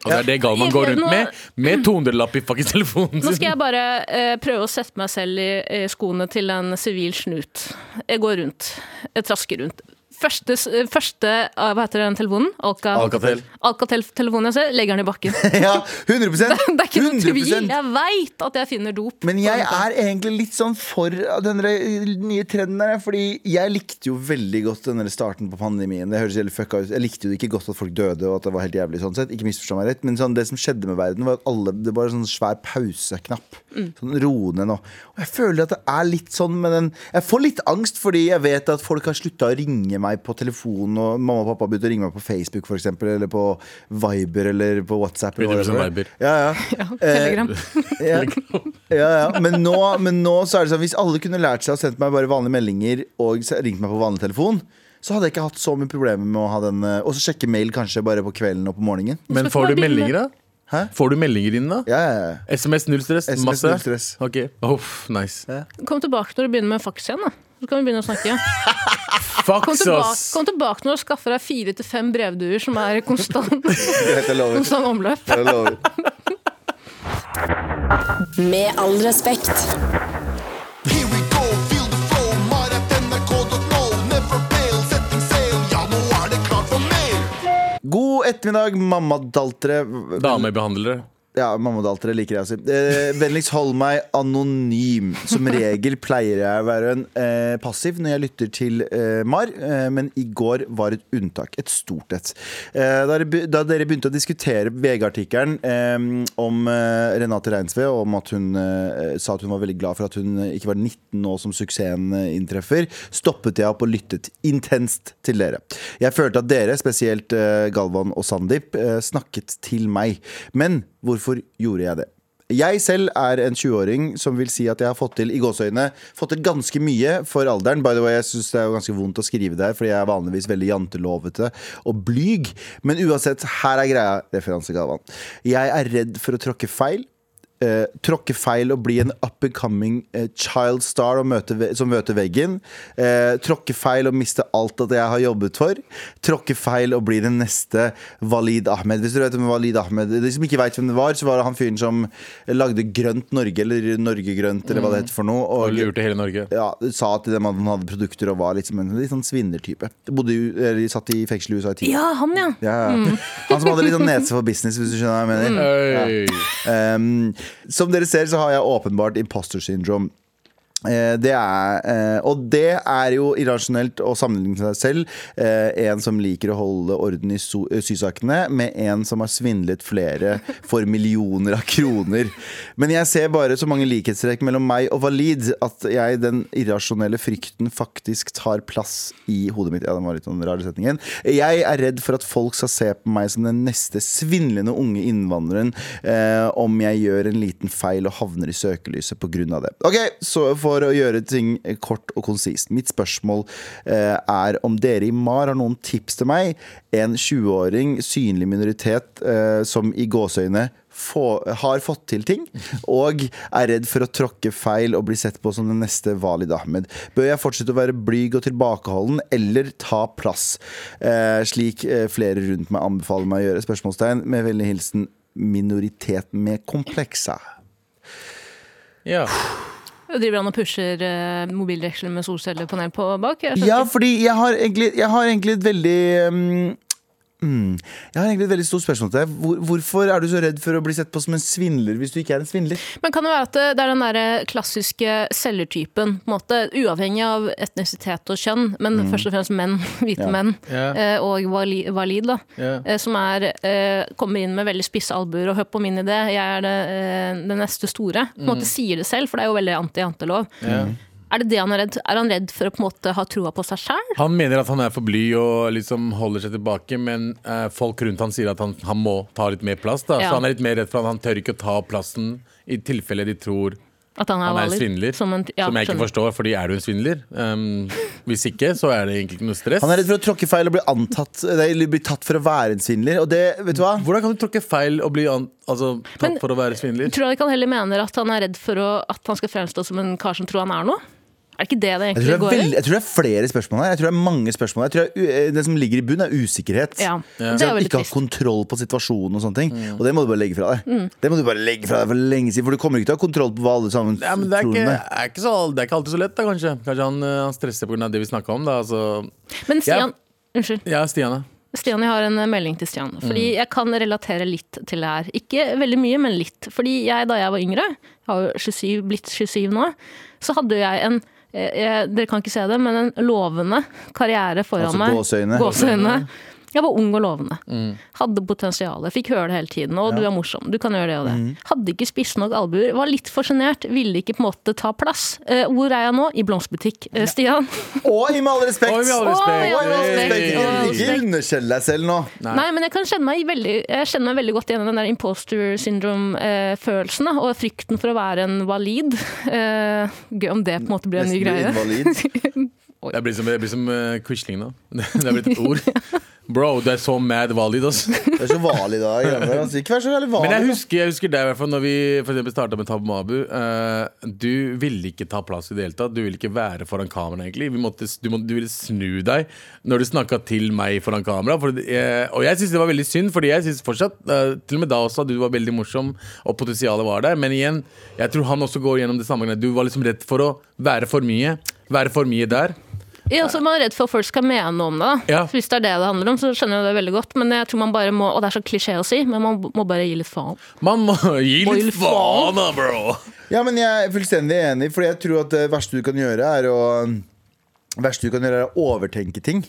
Og det er det Galman går rundt med, med 200-lapp i fuckings telefonen Nå sin. skal jeg bare eh, prøve å sette meg selv i eh, skoene til en sivil snut. Jeg går rundt. Jeg trasker rundt. Første, s- eh, første eh, hva heter den telefonen? Alca, Alcatel. Alcatel-telefonen jeg ser, legger den i bakken. [laughs] Ja, 100 Det er ikke noen tvil. 100 Jeg veit at jeg finner dop. Men jeg er egentlig litt sånn for den eh, nye trenden der. Fordi jeg likte jo veldig godt den der starten på pandemien. Det høres helt fucka ut. Jeg likte jo ikke godt at folk døde og at det var helt jævlig. sånn sett Ikke misforstå meg rett, men sånn, det som skjedde med verden, var at alle Det var en sånn svær pauseknapp. Sånn roe ned nå. Og jeg føler at det er litt sånn med den Jeg får litt angst fordi jeg vet at folk har slutta å ringe meg på telefon, og mamma og pappa begynte å ringe meg på Facebook, for eksempel, eller på Viber eller på WhatsApp. Eller Begynner å bli whatever. sånn Viber. Ja, ja. Telegram. Ja, ja, ja. Men, nå, men nå så er det sånn Hvis alle kunne lært seg å sende meg bare vanlige meldinger og s- ringt meg på vanlig telefon, så hadde jeg ikke hatt så mye problemer med å ha den eh, Og så sjekke mail kanskje bare på kvelden og på morgenen. Men skal får du ikke være meldinger, da? Hæ? Får du meldinger inn, da? Ja, ja, ja. SMS null stress? SMS masse? null stress. Ok. Uff, nice. Kom tilbake når du begynner med faks igjen, da. Så kan vi begynne å snakke. [laughs] Kom Fucks tilbake, oss! kom tilbake når du skaffer deg fire til fem brevduer som er i konstant, [laughs] Det heter lover. konstant omløp. Jeg lover. Med all respekt. Here we go, feel the flow, mar.nrk.no. Never fail, setting sail. Ja, nå er det klart for mer. God ettermiddag, mammadaltere. Damebehandlere. Ja, mammadaltere liker jeg å si. Eh, vennligst hold meg anonym. Som regel pleier jeg å være en eh, passiv når jeg lytter til eh, MAR, eh, men i går var et unntak. Et stort et. Eh, da, dere be- da dere begynte å diskutere VG-artikkelen eh, om eh, Renate Reinsve, og om at hun eh, sa at hun var veldig glad for at hun ikke var 19 nå som suksessen eh, inntreffer, stoppet jeg opp og lyttet intenst til dere. Jeg følte at dere, spesielt eh, Galvan og Sandeep, eh, snakket til meg. Men hvorfor gjorde jeg det? Jeg selv er en 20-åring som vil si at jeg har fått til i gåseøyne Fått til ganske mye for alderen. By the way, jeg syns det er jo ganske vondt å skrive det her, fordi jeg er vanligvis veldig jantelovete og blyg. Men uansett, her er greia, referanse Galvan. Jeg er redd for å tråkke feil. eh, tråkke feil og bli en up and coming eh, child star og møte, ve- som møter veggen. Eh, tråkke feil og miste alt at jeg har jobbet for. Tråkke feil og bli den neste Walid Ahmed. Hvis du vet hvem Walid Ahmed De som ikke veit hvem det var, så var det han fyren som lagde Grønt Norge, eller Norge Grønt, eller hva det heter for noe. Og lurte hele Norge. ja, sa til dem at han hadde produkter og var liksom en litt sånn svindertype. Bodde i- eller Satt i fengsel i USA i ti år. Ja, han, ja. Ja, ja. Han som hadde litt sånn nese for business, hvis du skjønner hva jeg Mm. mener. Øy. Um, som dere ser, så har jeg åpenbart imposter syndrome. Eh, Det er, eh, og det er jo irrasjonelt å sammenligne seg selv. eh, En som liker å holde orden i so- eh, sysakene, med en som har svindlet flere for millioner av kroner. Men jeg ser bare så mange likhetstrekk mellom meg og Valid at jeg den irrasjonelle frykten faktisk tar plass i hodet mitt. Ja, den var litt sånn rar setningen. Jeg er redd for at folk skal se på meg som den neste svindlende unge innvandreren eh, om jeg gjør en liten feil og havner i søkelyset pga. det. Ok, så for for å gjøre ting kort og konsist. Mitt spørsmål eh, er om dere i MAR har noen tips til meg, en 20-åring, synlig minoritet, eh, som i gåseøyne få, har fått til ting, og er redd for å tråkke feil og bli sett på som den neste Walid Ahmed. Bør jeg fortsette å være blyg og tilbakeholden, eller ta plass, eh, slik eh, flere rundt meg anbefaler meg å gjøre? Spørsmålstegn med vennlig hilsen minoritet med komplekser. Ja. Driver han og pusher eh, mobildeksler med solcellepanel på bak? Jeg skjønner Ja, ikke. fordi jeg har egentlig, jeg har egentlig et veldig um, mm, Jeg har egentlig et veldig stort spørsmål til deg. Hvor, hvorfor er du så redd for å bli sett på som en svindler hvis du ikke er en svindler? Men kan det være at det det er den der klassiske selgertypen, på en måte, uavhengig av etnisitet og kjønn, men Mm. først og fremst menn, [laughs] hvite menn, Ja. eh, og vali- valid, da, Ja. eh, som er, eh, kommer inn med veldig spisse albuer og 'hør på min idé, jeg er det, eh, det neste store'. På en måte Mm. sier det selv, for det er jo veldig anti-jantelov. Er det det han er redd Er han redd for å på en måte ha troa på seg sjæl? Han mener at han er for bly og liksom holder seg tilbake, men eh, folk rundt han sier at han, han må ta litt mer plass. Da. Ja. Så han er litt mer redd for at han tør ikke å ta plassen i tilfelle de tror At han er, han er en valid? svindler. Som, Som, en, jeg ja, ikke skjønner. forstår, fordi er du en svindler? Um, hvis ikke, så er det egentlig ikke noe stress. Han er redd for å tråkke feil og bli, antatt, eh, nei, eller bli tatt for å være en svindler. Og det, vet du hva? Hvordan kan du tråkke feil og bli an, altså, tatt Men- for å være svindler? Tror du ikke han heller mener at han er redd for å, at han skal fremstå som en kar som tror han er noe? Er det ikke det Jeg det tror, egentlig det går er i? veldig, jeg tror det er flere spørsmål her. Jeg tror det er mange spørsmål her. Jeg tror det, er, u- eh, det som ligger i bunn, er usikkerhet. Ja. Ja. Jeg Det tror er at veldig du ikke har trist. Mm. kontroll på situasjonen og sånne ting. Mm. Og det må du bare legge fra deg. Det må du bare legge fra deg for lenge siden, for du kommer ikke til å ha kontroll på hva alle sammen Ja, men det, er tror ikke, om deg. er ikke så, det er ikke alltid så lett, da, kanskje. Kanskje han, eh, han stresser pga. det vi snakka om. Da, altså. Men Ja. Stian, unnskyld. Ja, Stian, ja. Stian, jeg har en eh, melding til Stian. Fordi Mm. jeg kan relatere litt til det her. Ikke veldig mye, men litt. Fordi jeg, da jeg var yngre, jeg har jo 27, blitt 27 nå, så hadde jeg en eh, jeg, Dere kan ikke se det, men en lovende karriere foran Altså meg. gåseøyne. Mm. Gåseøyne. Jeg var ung og lovende. Hadde potensial. Fikk høre det hele tiden. Og du er morsom. Du kan gjøre det og det. Mm. Hadde ikke spisse nok albuer. Var litt for sjenert. Ville ikke på en måte ta plass. Eh, hvor er jeg nå? I blomsterbutikk. Eh, Stian? Og i med all respekt! Oi, med all Oi, respekt. oi, oi, Hey. respekt. Oi, oi, Ikke underkjell deg selv nå. Nei. Nei. men jeg kan kjenne meg veldig, jeg kjenner meg veldig godt igjen i den der imposter syndrome-følelsen. da, Og frykten for å være en valid. Eh, Gøy om det på en måte blir en Nesten ny blir greie. invalid. Det blir som, det blir som eh, Quisling nå. [laughs] Det er blitt et [laughs] ord. Bro, du er så mad valid, altså. ass. Det er så vanlig da. Greier, altså. Ikke vær så jævlig vanlig. Men jeg da. husker, jeg husker deg i hvert fall når vi for eksempel starta med Tabu Mabu. eh, du ville ikke ta plass i det hele tatt. Du ville ikke være foran kamera, egentlig. Vi måtte, du, måtte, du ville snu deg når du snakka til meg foran kamera. For, eh, og jeg syns det var veldig synd, Fordi jeg syns fortsatt, eh, til og med da også, at du var veldig morsom, og potensialet var der. Men igjen, jeg tror han også går gjennom det samme. Du var liksom redd for å være for mye. Være for mye der. Ja, så man er redd for at folk skal mene noe om det. da. Ja. Så Hvis det er det det handler om, så skjønner jeg det veldig godt. Men jeg tror man bare må, og det er så klisjé å si, men man må bare gi litt faen. Man må [laughs] gi Må gi litt litt faen. faen, da, bro! Ja, men jeg er fullstendig enig, Fordi jeg tror at det verste du kan gjøre, er å det verste du kan gjøre, er å overtenke ting.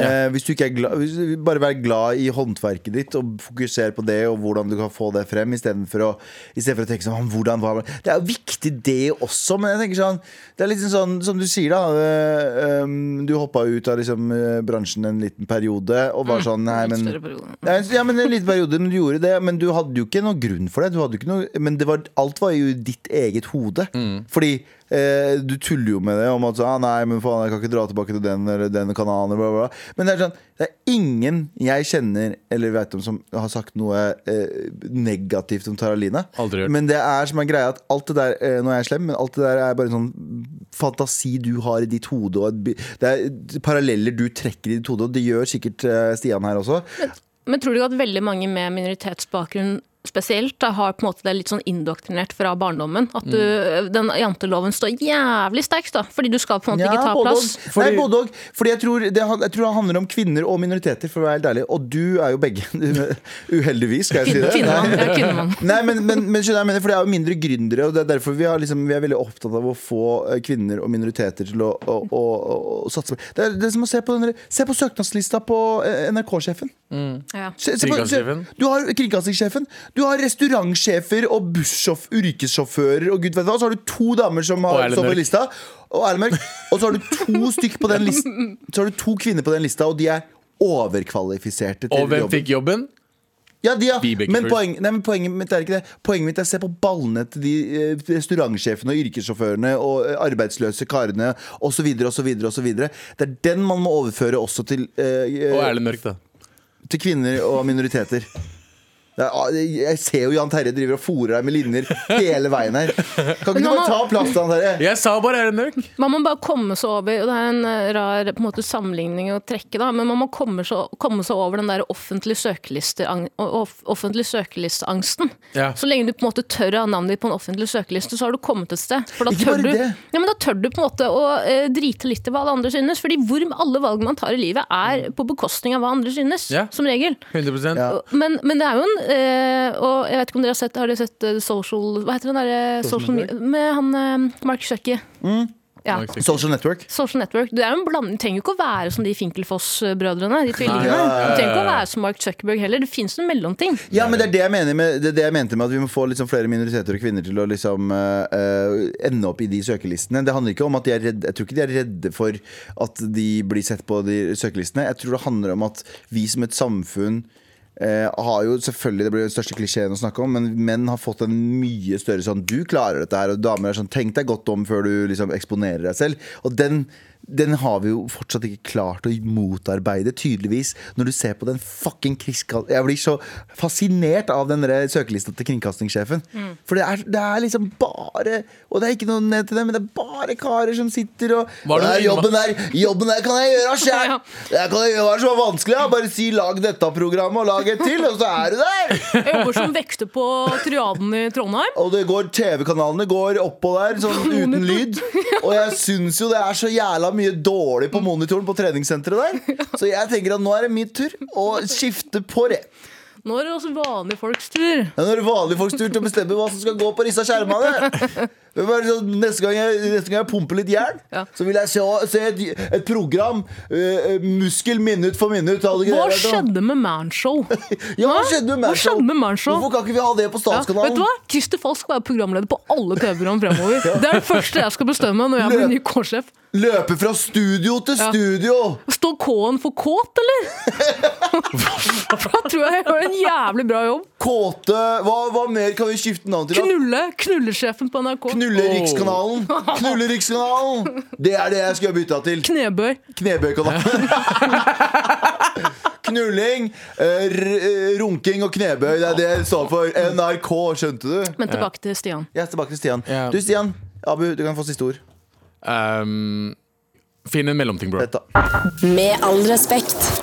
Eh, hvis du ikke er glad, hvis du bare vær glad i håndverket ditt og fokuser på det og hvordan du kan få det frem, istedenfor å, i stedet for å tenke sånn «Åh, hvordan, hva, Det er jo viktig, det også, men jeg tenker sånn Det er litt sånn som du sier, da. eh, um, du hoppa ut av liksom, eh, bransjen en liten periode og var sånn Nei, Litt men større periode. ja, en- ja, men en liten periode, men du gjorde det Men du hadde jo ikke noen grunn for det, du hadde jo ikke noe, Men det var, alt var jo i ditt eget hode Mm. Fordi eh, du tuller jo med det Om at så, ah, nei, men faen, jeg kan ikke dra tilbake til den Eller den kanalen, bla, bla, bla Men det er sånn, det er ingen jeg kjenner Eller vet om som har sagt noe eh, Negativt om Taralina Aldri hørt. Men det er som er greia at alt det der eh, Nå er jeg slem, men alt det der er bare en sånn Fantasi du har i ditt hode og et, bi- Det er paralleller du trekker i ditt hode Og det gjør sikkert eh, Stian her også Men tror du at veldig mange med minoritetsbakgrunn spesielt da, har på en måte det litt sånn indoktrinert fra barndommen? At du, Mm. den janteloven står jævlig sterkt, da, fordi du skal på en måte ikke ta både plass. Og, nei, både og. Fordi jeg tror, det, han- jeg tror det handler om kvinner og minoriteter, for å være helt ærlig. Og du er jo begge. [laughs] Uheldigvis, skal jeg si det. Kvinnemann. Jeg er [laughs] kvinnemann. Nei, men, men, men skjønner jeg mener, for det er jo mindre gründere, og det er derfor vi, har liksom, vi er veldig opptatt av å få eh, kvinner og minoriteter til å, å, å, å, å satse på Det er det er som å se på, den, der- se på søknadslista på eh, NRK-sjefen. Ja. Se- se på- Kringkastingssjefen. se- Du har kringkastingssjefen. Du har restaurantsjefer og bussjåf- yrkessjåfører og gud vet hva. Så har du to damer som Og har Erlend står på Mørk. lista. Og Erlend Mørk. Og så har du to stykk på den listen Så har du to kvinner på den lista, og de er overkvalifiserte til Og hvem jobben. fikk jobben? Ja, de, ja. Vibeke Men, først. poeng, nei, men poenget mitt er ikke det. Poenget mitt er å se på ballene til de eh, restaurantsjefene og yrkessjåførene og eh, arbeidsløse karene osv. osv. Det er den man må overføre også til, eh, Og eh, Erlend Mørk, da. til kvinner og minoriteter. Det er- ah, Jeg ser jo Jan Terje driver og fôrer deg med linjer hele veien her. Kan ikke du Men bare han ta har- plass til han Terje? Jeg sa bare Erlend Mørk. Man må bare komme seg over, og det er en eh, rar på en måte, sammenligning å trekke, da, men man må komme seg, komme seg over den der offentlige, søkeliste, offentlig søkelisteangsten. Ja. Så lenge du på en måte tør å ha navnet ditt på en offentlig søkeliste, så har du kommet et sted. For da Ikke tør, bare du, det. ja, men da tør du på en måte å eh, drite litt i hva alle andre synes, fordi hvor alle valg man tar i livet er på bekostning av hva andre synes, Ja. som regel. 100 Ja. Men, men det er jo en eh, Og jeg vet ikke om dere har sett Har dere sett eh, Social Hva heter den derre Social Network? Med han eh, Mark Zucki. Mm. Ja. Mark Zuckerberg. Social Network. Social Network. Det er jo en blanding. Du trenger jo ikke å være som de Finkelfoss-brødrene. De tvillingene. Nei. Du trenger ikke å være som Mark Zuckerberg heller. Det fins en mellomting. Ja, men det er det jeg, mener med, det er det jeg mente med at vi må få liksom flere minoriteter og kvinner til å liksom, eh, eh, ende opp i de søkelistene. Det handler ikke om at de er redde, Jeg tror ikke de er redde for at de blir sett på de søkelistene. Jeg tror det handler om at vi som et samfunn eh, har jo selvfølgelig, Det blir jo den største klisjeen å snakke om, men menn har fått en mye større sånn Du klarer dette her, og damer er sånn Tenk deg godt om før du liksom eksponerer deg selv. Og den, den har vi jo fortsatt ikke klart å motarbeide, tydeligvis. Når du ser på den fucking kriskal... Jeg blir så fascinert av den der søkelista til kringkastingssjefen. For det er, det er liksom bare Og det er ikke noe ned til det, men det er bare karer som sitter og Var det «Nei, noe- jobben, der, jobben der kan jeg gjøre sjæl! Ja. Det kan jeg gjøre hva som er vanskelig. ja. Bare si 'lag dette programmet', og lag et til, og så er du der! Jeg jobber som vekter på Triaden i Trondheim. Og det går TV-kanalene går oppå der sånn uten lyd. Og [laughs] jeg syns jo det er så jævla mye dårlig på monitoren på treningssenteret der. Så jeg tenker at nå er det min tur å skifte på det. Nå er det også vanlige folks tur. Ja, Nå er det vanlige folks tur til å bestemme hva som skal gå på disse skjermene. Det er bare sånn, Neste gang jeg, neste gang jeg pumper litt jern, Ja. så vil jeg se, se et, et program. eh, muskel minutt for minutt. alle Hva greier der, da. skjedde med Manshow? Ja, [laughs] hva skjedde med Hva Manshow? skjedde med Manshow? Hvorfor kan ikke vi ha det på Ja, vet Statskanalen? du hva? Christer Falk skal være programleder på alle TV-program [laughs] fremover. Det er det første jeg skal bestemme når jeg blir ny K-sjef. Løpe fra studio til studio! Står K-en for kåt, eller? [laughs] For da tror jeg jeg gjør en jævlig bra jobb. Kåte hva, hva mer kan vi skifte navn til? da? Knulle. Knullesjefen på NRK. Knulle Rikskanalen! Knulle Rikskanalen! Det er det jeg skulle ha bytta til. Knebøy. Knebøykanalen. Knulling, eh, r- eh, runking og knebøy. Det er det det står for. NRK, skjønte du? Men tilbake til Stian. Jeg er tilbake til Stian. Ja. Du, Stian. Abu, du kan få siste ord. Ehm, Finn en mellomting, bro. Dette. Med all respekt.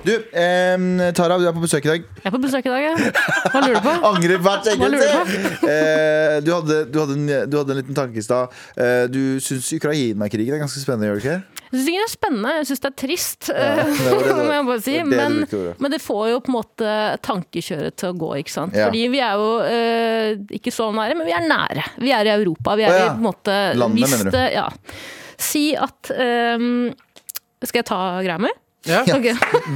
Du, eh, Tara, du er på besøk i dag. Jeg er på besøk i dag, jeg. Hva lurer du på? Angrer hvert Hva enkelt lurer Eh, du, hadde, du, hadde en, du hadde en liten tanke i stad. Eh, du syns Ukraina-krigen er ganske spennende, [laughs] gjør du ikke? Jeg syns ikke det er spennende, jeg syns det er trist. det var det- [laughs] må jeg bare si. det var det du Men, brukte ordet. men det får jo på en måte tankekjøret til å gå, ikke sant. Ja. Fordi vi er jo eh, ikke så nære, men vi er nære. Vi er i Europa. Vi er Å, ja. i på en måte Landet, hvis mener du? det- Ja. Si at eh, Skal jeg ta greia mi? Ja. Ok.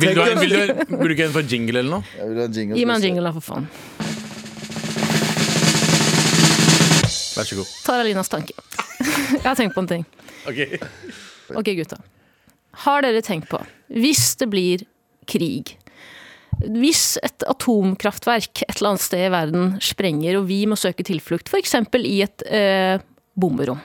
Vil, du [laughs] ha, vil du bruke en for jingle eller noe? Jeg vil ha en jingle. Gi meg en jingle, da, for faen. Vær så god. Tara Linas tanke. [laughs] Jeg har tenkt på en ting. Ok. Ok, gutta. Har dere tenkt på, hvis det blir krig Hvis et atomkraftverk et eller annet sted i verden sprenger, og vi må søke tilflukt f.eks. i et eh, bomberom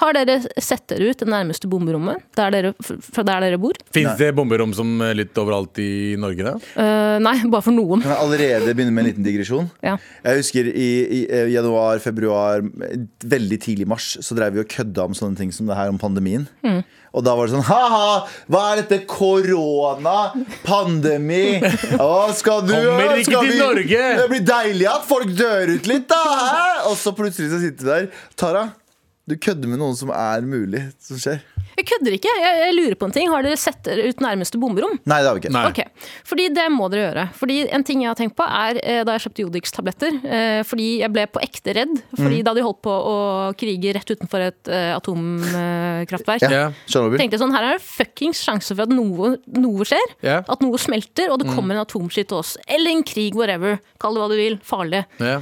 Har dere sett dere ut det nærmeste bomberommet der dere, fra der dere bor? Fins det bomberom som eh, litt overalt i Norge, da? Eh, nei, bare for noen. Kan jeg allerede begynne med en liten digresjon? Ja. Jeg husker i, i eh, januar, februar, veldig tidlig mars, så drev vi og kødda om sånne ting som det her om pandemien. Mm. Og da var det sånn Ha-ha! Hva er dette? Korona? Pandemi? Å, skal du Kommer å, ikke skal til vi- Norge!» Det blir deilig at folk dør ut litt, da! Hæ? Og så plutselig så sitter du der. Tara, du kødder med noen som er mulig, som skjer. Jeg kødder ikke. Jeg, jeg lurer på en ting. Har dere sett dere ut nærmeste bomberom? Nei, det har vi ikke. Nei. Ok, fordi det må dere gjøre. Fordi en ting jeg har tenkt på er eh, da jeg kjøpte Jodix-tabletter. Eh, fordi jeg ble på ekte redd. Fordi da de holdt på å krige rett utenfor et eh, atomkraftverk. Ja. Tsjernobyl. Tenkte jeg sånn, Her er det fuckings sjanse for at noe, noe skjer. Ja. At noe smelter, og det kommer en atomsky til oss. Eller en krig, whatever. Kall det hva du vil. Farlig. Ja.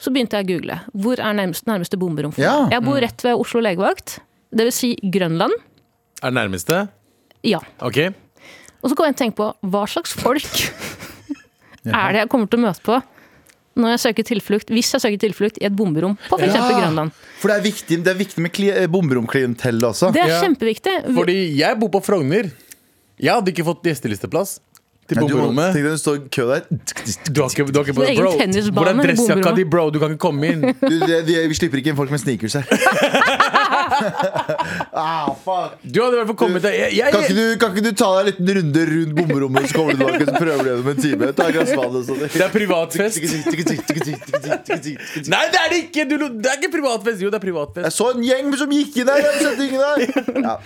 Så begynte jeg å google. Hvor er nærmeste, nærmeste bomberom? for Ja. meg? Jeg bor rett ved Oslo legevakt. Det vil si Grønland. Er det nærmeste? Ja. Ok. Og så kan jeg tenke på hva slags folk er det jeg kommer til å møte på når jeg søker tilflukt, hvis jeg søker tilflukt i et bomberom på f.eks. eksempel Ja. Grønland. For det er viktig, det er viktig med kli- eh, bomberomklientellet også. Det er Ja. kjempeviktig. Vi- Fordi jeg bor på Frogner. Jeg hadde ikke fått gjestelisteplass til Ja, du, bomberommet. tenk deg du står i kø der. Du har ikke, du har ikke Din egen bro, tennisbane, Hvor er dressjakka bomberommet? di, bro? Du kan ikke komme inn. Du, det, de, vi slipper ikke inn folk med [laughs] sneakers her. ah, fuck. Du hadde i hvert fall kommet deg jeg, Kan ikke, jeg, du, kan ikke du ta deg en liten runde rundt bomberommet, så kommer du tilbake og så prøver du gjennom en time? Ta et glass vann og sånn. Det er privatfest. Jeg Nei, det er det ikke! Du, det er ikke privatfest. Jo, det er privatfest. så en gjeng som gikk inn der! Jeg så ting der. Ja.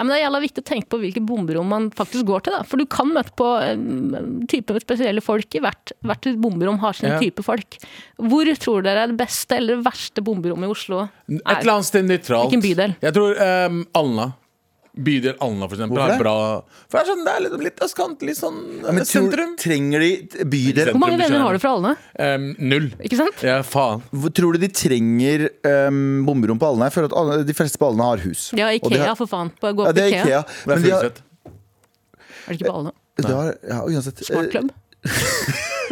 Ja, men det er jævla viktig å tenke på hvilke bomberom man faktisk går til. Da. For du kan møte på um, type spesielle folk i hvert, hvert bomberom har sin Ja. type folk. Hvor tror dere er det beste eller det verste bomberommet i Oslo? Et eller annet sted nøytralt. Hvilken bydel? Jeg tror um, Alna. Bydel Alna, for eksempel. Hvorfor har det? Bra, for det er, sånn, det er litt, litt østkant, litt sånn Ja, men eh, tror, sentrum. trenger de bydel Hvor mange venner har du fra alle? Ehm, Um, null. Ikke sant? Ja, faen. Hvor- Tror du de trenger um, bomberom på Alna? Jeg føler at alle, de fleste på Alna har hus. Ja, Og de Ikea, har- for faen. Bare gå Ja, opp det er Ikea. Ikea. Det er Men de har, fullsett. Er det ikke på alle? de har, ja, uansett. Smartklubb?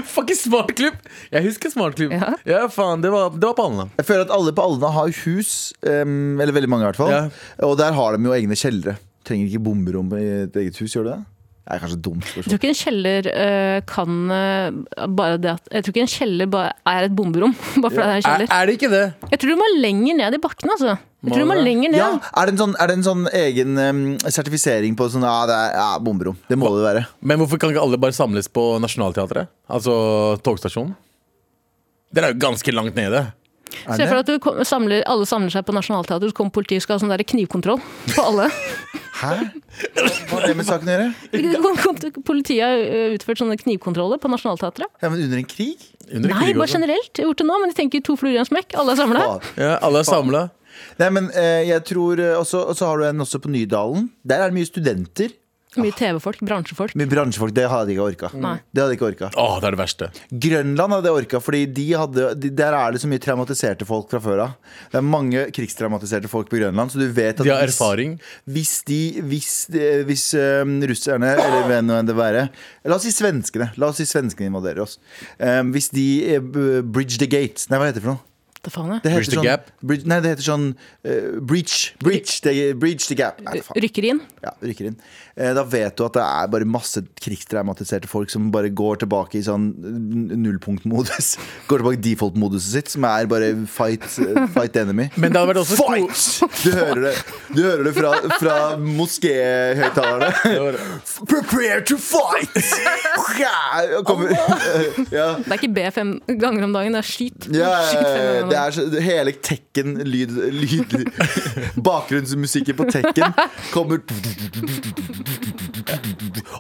Fucking smartklubb! Jeg husker smartklubb. Ja. Ja. faen, det var, det var på Alna. Jeg føler at alle på Alna har hus, em, eller veldig mange i hvert fall. Ja. Og der har de jo egne kjellere. Trenger ikke bomberom i et eget hus, gjør du det? Det er kanskje et dumt Jeg tror spørsmål. ikke en kjeller eh, kan eh, bare det at Jeg tror ikke en kjeller bare er et bomberom. [laughs] Bare fordi det er en Er, kjeller. er det ikke det? Jeg tror du må lenger ned i bakken, altså. Jeg tror du Må må det? lenger ned. Ja, er det en sånn, er det en sånn egen em, sertifisering på sånn, ja, det er ja, bomberom? Det må det være. Men hvorfor kan ikke alle bare samles på Nationaltheatret? Altså togstasjonen? Dere er jo ganske langt nede. Er Se det? for deg at du kom, samler, alle samler seg på Nationaltheatret, så kommer politiet og skal ha sånn der knivkontroll på [laughs] alle. Hæ? Hva har det med saken å gjøre? Kom- kom til- Politiet har ø, utført sånne knivkontroller på Nationaltheatret. Ja, men under en krig? Under Nei, krig bare også. generelt. Jeg har gjort det nå, men jeg tenker to fluer i en smekk. Alle er samla. Faen. Ja, alle er samla. Nei, men eh, jeg tror eh, også, Og så har du en også på Nydalen. Der er det mye studenter. Mye TV-folk, bransjefolk. Mye bransjefolk. Det hadde jeg ikke orka. Nei. Det hadde jeg ikke orka. Å, det er det verste. Grønland hadde jeg orka, Fordi de hadde, de, der er det så mye traumatiserte folk fra før av. Det er mange krigstraumatiserte folk på Grønland, så du vet at De har hvis- erfaring. Hvis de, hvis, de, hvis ehm, russerne, eller hvem nå enn det være La oss si svenskene. La oss si svenskene invaderer oss. Ehm, hvis de eh, b- bridge the gate Nei, hva heter det for noe? Det faen jeg. Det Bridge the sånn, gap? Bridge, nei, det heter sånn eh, breach. Breach the, breach the gap. Nei, faen. Rykker inn. Ja, rykker inn. Eh, Da vet du at det er bare masse krigstraumatiserte folk som bare går tilbake i sånn n- nullpunktmodus. [laughs] Går tilbake i default-moduset sitt, som er bare fight, eh, fight the enemy. Men det hadde vært også [laughs] Fight! Du hører det, du hører det fra, fra moskéhøyttalerne. [laughs] ko- Prepare to fight! [laughs] Ja, kommer, [laughs] ja. Det er ikke B fem ganger om dagen, det er skyt. Ja, Skyt fem ganger om det dagen. er så, hele tekken lyd, lyd Bakgrunnsmusikken på tekken kommer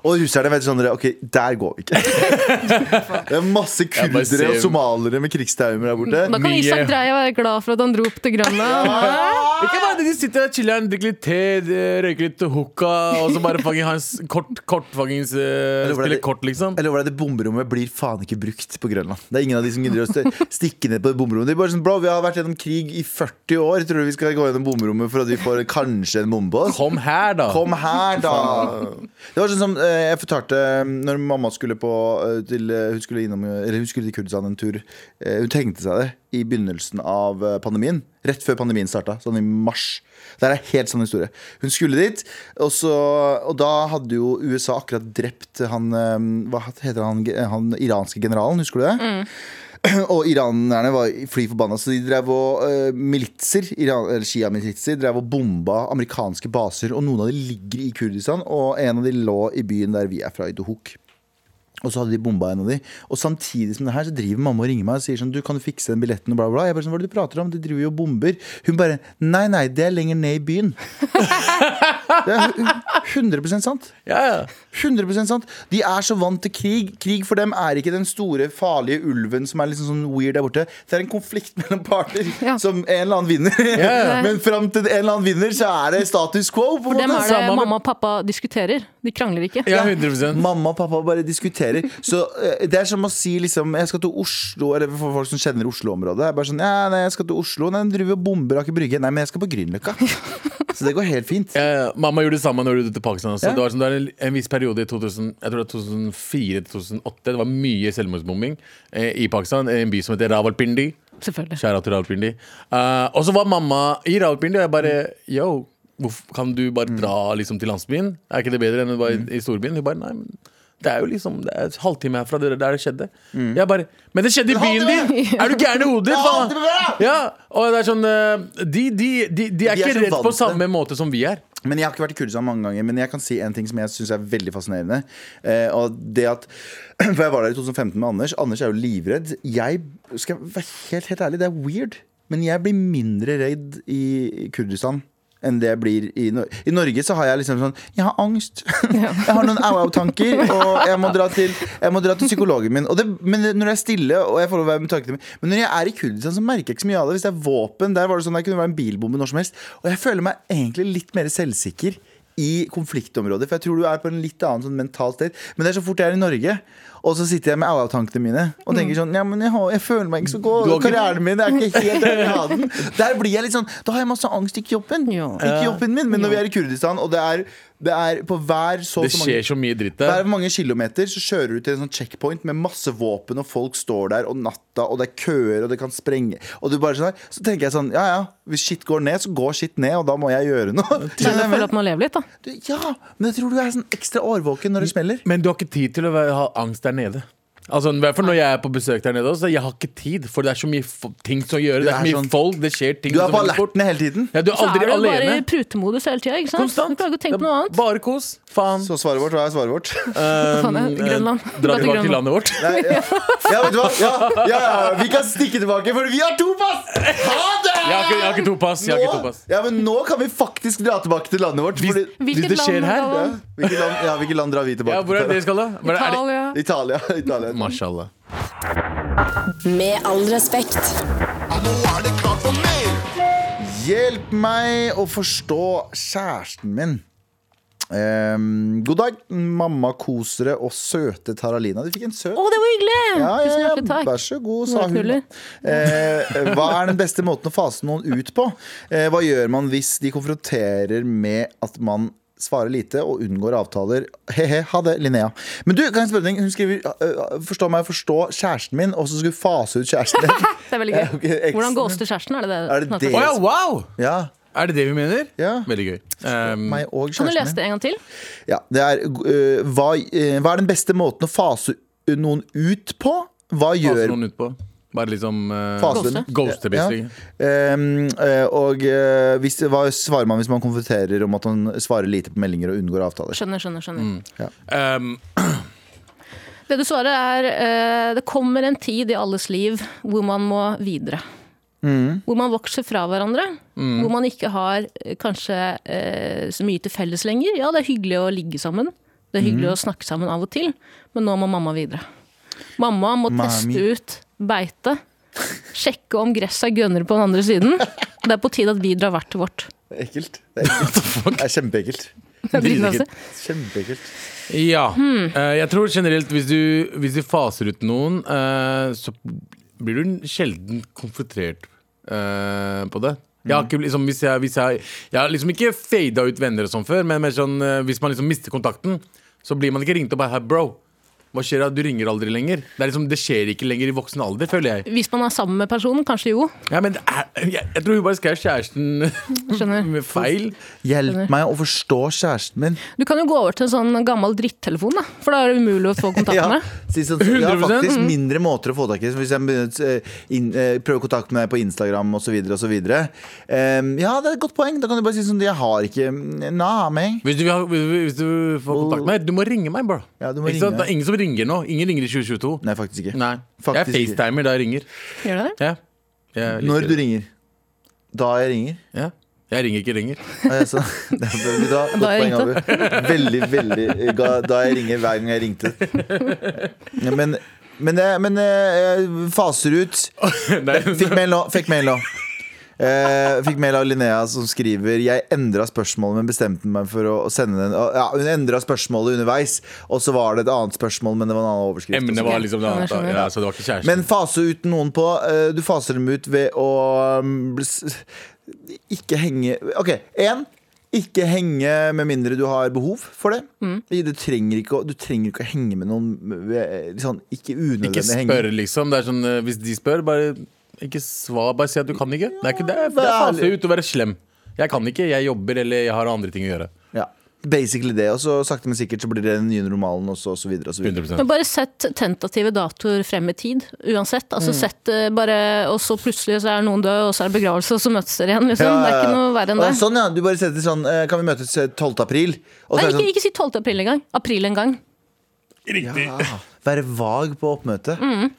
Og russerne vet sånn Ok, der går vi ikke. Det er masse Jeg bare ser- kurdere og somaliere med krigstraumer der Da borte. kan Mye- Isak Dreie være glad for at han dro opp til Grønland. Ikke bare det, De sitter der, chiller'n, drikker litt te, de røyker litt hookah, og så bare fucking hans kort, kort fuckings eh, Eller var Spiller det det- kort, liksom. Eller hvordan det bomberommet blir faen ikke brukt på Grønland. Det er ingen av de som gidder å st- stikke ned på det bomberommet. De er bare sånn, bro, Vi har vært gjennom krig i 40 år. Tror du vi skal gå gjennom bomberommet for at vi får kanskje en bombe? på oss? Kom her, da. Kom her, da! [laughs] Det var sånn som eh, jeg fortalte eh, Når mamma skulle på eh, til, eh, Hun skulle innom Eller hun skulle til Kurdistan en tur. Eh, Hun tenkte seg det i begynnelsen av eh, pandemien. Rett før pandemien starta, sånn i mars. Det er en helt sann historie. Hun skulle dit, og, så, og da hadde jo USA akkurat drept han eh, Hva heter han, han iranske generalen, husker du det? [clears throat] Og iranerne var fly forbanna, så de drev og eh, militser, Iran, eller Shia-militser, drev og bomba amerikanske baser. Og noen av de ligger i Kurdistan, og en av de lå i byen der vi er fra, i Dohuk. Og så hadde de bomba en av de. Og samtidig som det her, så driver mamma og ringer meg og sier sånn Du, kan du fikse den billetten? Og bla, bla. Jeg bare sånn, hva er det du prater om? De driver jo og bomber. Hun bare Nei, nei, det er lenger ned i byen. [laughs] det er hu- 100 sant. Ja, ja. 100 sant. De er så vant til krig. Krig for dem er ikke den store, farlige ulven som er liksom sånn weird der borte. Det er en konflikt mellom parter [laughs] Ja. som en eller annen vinner. ja. Men fram til en eller annen vinner, så er det status quo. På For en dem måte. er det Samme- mamma og pappa diskuterer. De krangler ikke. ja 100 Mamma og pappa bare diskuterer. Så eh, Det er som å si liksom Jeg skal til Oslo, eller for folk som kjenner Oslo-området. Det er Bare sånn, ja, [laughs] nei, jeg skal til Oslo Nei, de driver og bomber Aker Brygge. Nei, men jeg skal på Grünerløkka. Så det går helt fint. ja, ja. Mamma gjorde det samme når du dro til Pakistan. også. Ja. Det var sånn, det var en, en viss periode i 2000, jeg tror det var 2004 2008. Det var mye selvmordsbombing eh, i Pakistan, i en by som heter Rawalpindi. Selvfølgelig. Kjære til Rawalpindi. Eh, og så var mamma i Rawalpindi, og jeg bare Yo, hvorfor kan du bare dra liksom til landsbyen? Er ikke det bedre enn å være i storbyen? Hun bare nei, men det er jo liksom Det er en halvtime herfra det er der det skjedde. Mm. Jeg bare Men det skjedde i byen din! Er du gæren i hodet? En faen?» halvtime herfra! Ja, og det er sånn eh, De, de, de, de er De er ikke så redd vant på til samme måte som vi er. Men Jeg har ikke vært i Kurdistan mange ganger, men jeg kan si en ting som jeg syns er veldig fascinerende. Eh, og det at, [clears throat] For jeg var der i 2015 med Anders. Anders er jo livredd. Jeg skal jeg være helt, helt ærlig, det er weird, men jeg blir mindre redd i Kurdistan. Enn det jeg blir i Norge. I Norge så har jeg liksom sånn Jeg har angst. [laughs] Jeg har noen au-au-tanker. Og jeg må dra til, jeg må dra til psykologen min. Og det, men når jeg er stille og jeg får lov å være med tankene mine Men når jeg er i Kurdistan, så merker jeg ikke så mye av det. Hvis det er våpen, der var det sånn der kunne det være en bilbombe når som helst. Og jeg føler meg egentlig litt mer selvsikker i konfliktområder. For jeg tror du er på en litt annen sånn mental sted. Men det er så fort jeg er i Norge, og så sitter jeg med au-au-tankene mine og tenker sånn Ja, men jeg, har, jeg føler meg ikke så god. Du har ikke- Karrieren min er ikke helt der jeg vil ha den. Der blir jeg litt sånn Da har jeg masse angst, ikke jobben. Ja. Ikke jobben min. Men når vi er i Kurdistan, og det er, det er på hver så Det og så mange skjer så mye dritt hver der. mange kilometer så kjører du til en sånn checkpoint med masse våpen, og folk står der, og natta, og det er køer, og det kan sprenge Og du bare sånn her, Så tenker jeg sånn, ja ja, hvis shit går ned, så går shit ned, og da må jeg gjøre [laughs] noe. Men jeg Skjønner du hva jeg føler at man lever litt, da. mener? ja, men jeg tror du er sånn ekstra årvåken når det smeller. Men du har ikke tid til å være- ha angst der nede. Altså, I hvert fall når jeg er på besøk der nede. Også, jeg har ikke tid, for det er så mye f- ting som å gjøre. Det er så er mye sånn- folk, det skjer ting Du er som på veldig fort. alertene hele tiden. Ja, du er Så er aldri du bare alene. i prutemodus hele tida. ikke sant? Konstant. Du klarer ikke å tenke på noe annet. Bare kos. Faen. Så svaret vårt hva er svaret vårt. Faen, jeg- Eh, Grønland. Dra Bare til tilbake til Grønland. landet vårt. Nei, ja. [laughs] ja, vet du hva? Ja, ja, ja, vi kan stikke tilbake, for vi har to pass! Ha det! Jeg har ikke, jeg har ikke to pass. Jeg har ikke to Nå, pass. ja, men nå kan vi faktisk dra tilbake til landet vårt. Hvis- fordi- hvis det Hvilket skjer land er her, Ja, det? Hvilket land, ja, hvilket land drar vi tilbake Ja, hvor er det dere skal, da? Hvor er det? Italia. Italia. Italia. Mashallah. Med all respekt. Ja, nå er det klart for mer. Hjelp meg å forstå kjæresten min. Ehm, god dag, mamma, kosere og søte Taralina. Du fikk en søt Å, det var hyggelig! Tusen hjertelig takk. Vær så god, sa hun. Knuller. Eh, hva er den beste måten å fase noen ut på? Eh, hva gjør man hvis de konfronterer med at man svarer lite og unngår avtaler? He-he, ha det, Linnea. Men du, kan jeg spørre deg, hun skriver eh, 'forstå meg, forstå kjæresten min', og så skulle hun fase ut kjæresten [laughs] din. Det er [laughs] veldig gøy. Ja, ok, eksen. Hvordan gås til kjæresten? Er det det? Er det den heter? det? Å ja, wow! ja, Er det det vi mener? Ja. Veldig gøy. Um, meg og Kan du kjæresten lese min. det en gang til? Ja, det er, eh, hva, eh, hva er den beste måten å fase noen ut på? Hva Pass gjør noen ut på. Bare liksom eh, Fase Ghoste. den. Ghoste, Ja. basically. Ehm, eh, og eh, hvis, hva svarer man hvis man konfronterer om at man svarer lite på meldinger og unngår avtaler? Skjønner, skjønner. Mm. skjønner. Um, Det du svarer, er eh, det kommer en tid i alles liv hvor man må videre. Mm. Hvor man vokser fra hverandre. Hvor man ikke har eh, kanskje eh, så mye til felles lenger. Ja, det er hyggelig å ligge sammen. Det er Mm. hyggelig å snakke sammen av og til, men nå må mamma videre. Mamma må Mami. teste ut beite. Sjekke om gresset gønner på den andre siden. Det er på tide at vi drar hvert til vårt. Ekkelt. Det [laughs] er, ekkelt. Det er kjempeekkelt. er dritnasty. Dritekkelt. Kjempeekkelt. Ja. Hmm. Eh, jeg tror generelt hvis du, hvis du faser ut noen, eh, så blir du sjelden konfrontert eh, på det. Jeg Hmm. har ikke, liksom, hvis jeg, hvis jeg, jeg har liksom ikke fada ut venner og sånn før, men mer sånn, eh, hvis man liksom mister kontakten, så blir man ikke ringt opp av her, bro. Hva skjer da? Du ringer aldri lenger. Det, er liksom, det skjer ikke lenger i voksen alder, føler jeg. Hvis man er sammen med personen, kanskje jo. Ja, men det er, jeg, jeg tror hun bare skrev kjæresten [laughs] Skjønner. med feil. Hjelp meg å forstå kjæresten min. Du kan jo gå over til en sånn gammel drittelefon, da. For da er det umulig å få [laughs] kontakt Ja, med. si sånn, ja, 100%. faktisk mindre måter å få tak i. Hvis jeg begynner, eh, inn- eh, prøver kontakt med deg på Instagram osv. Um, ja, det er et godt poeng. Da kan du bare si sånn Jeg har ikke Nei, meg. Hvis du, vil ha- hvis du får kontakt med meg, du må ringe meg, bro. Ja, du må ikke sant? ringe. Det er ingen som ringer nå. Ingen ringer i 2022. Nei, faktisk ikke. Nei. Faktisk jeg ikke. facetimer da jeg ringer. Gjør det det? Ja. Jeg liker Når du det. ringer. Da jeg ringer. altså, Ja. Jeg ringer ikke ringer. [laughs] Ja, jeg sa- [laughs] Det er bra. Godt Da jeg poeng, Abu. Veldig, veldig eh, ga- Da jeg ringer hver gang jeg ringte. [laughs] Ja, men men, jeg, men eh, jeg faser ut. sånn Fikk mail nå. Fikk mail nå. Eh, fikk mail av Linnea som skriver Jeg endra spørsmålet, men bestemte meg for å å sende den. og- Ja, hun endra spørsmålet underveis, og så var det et annet spørsmål, men det var en annen overskrift. og så- Emnet var liksom det Skjønner, annet. da. skjønner. Ja, så det var ikke kjæresten. men fase ut noen på eh, Du faser dem ut ved å um, bl- s- Ikke henge Ok, en Ikke henge med mindre du har behov for det. Du, trenger ikke å, du trenger ikke å henge med noen eh, sånn, Ikke unødvendig Ikke henge. spør, liksom. Det er sånn, eh, hvis de spør, bare ikke svar. Bare si at du kan ikke. Det er ikke det. er- Det vær er ærlig. faser ut å være slem. Jeg kan ikke, jeg jobber eller jeg har andre ting å gjøre. Ja. Basically det. Og så sakte, men sikkert så blir det den nye normalen også, og så videre. Og så videre. 100 Men bare sett tentative datoer frem i tid, uansett. Altså Mm. sett eh, bare, Og så plutselig så er noen død, og så er det begravelse, og så møtes dere igjen. Liksom. Ja, ja, Det er ja. ikke noe verre enn Og det. Sånn, ja. Du bare setter sånn eh, Kan vi møtes eh, 12. april? Og så Nei, er det ikke, sånn, ikke si 12. april engang. April en gang. ja, Være vag på oppmøtet. Mm.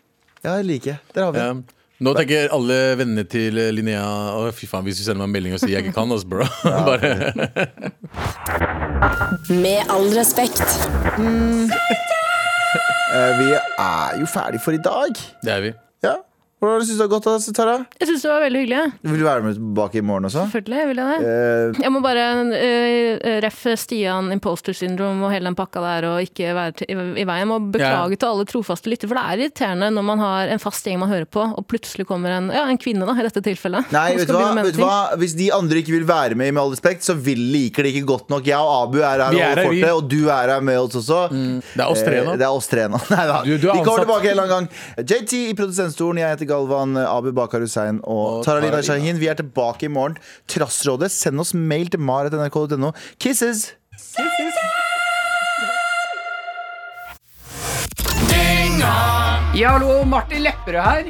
Ja, jeg liker det. Der har vi det. Ja. Nå tenker alle vennene til eh, Linnea Å, fy faen, hvis du sender meg en melding og sier jeg ikke kan, altså, bro. [laughs] Bare, Med all respekt. Eh, Vi er jo ferdig for i dag. det er vi. Ja. Hvordan syns du det har gått, da, Tara? Jeg syns det var veldig hyggelig. jeg. Vil du være med tilbake i morgen også? Selvfølgelig vil jeg det. Eh, Jeg må bare eh, ref Stian imposter syndrome og hele den pakka der, og ikke være til, i, i veien. Jeg må beklage Ja. til alle trofaste lyttere, for det er irriterende når man har en fast gjeng man hører på, og plutselig kommer en, ja, en kvinne, da, i dette tilfellet. Nei, som vet du, skal hva? begynne med vet du ting. hva? Hvis de andre ikke vil være med, med all respekt, så vil liker de ikke godt nok. Jeg og Abu er her, Vi er over her, vi. Mm. fortet, og du er her med oss også. Det er oss tre Eh, nå. Det er oss tre nå. [laughs] Nei, da. Du- du er vi kommer ansatt. tilbake en eller annen gang. JT i produsentstolen, jeg heter Galvan, eh, Abu Bakar Hussein og, Og Taralina. Taralina Shahin. Vi er tilbake i morgen. Trassrådet, send oss mail til maret.nrk.no. Kisses! Ja, hallo, Martin Lepperød her.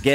get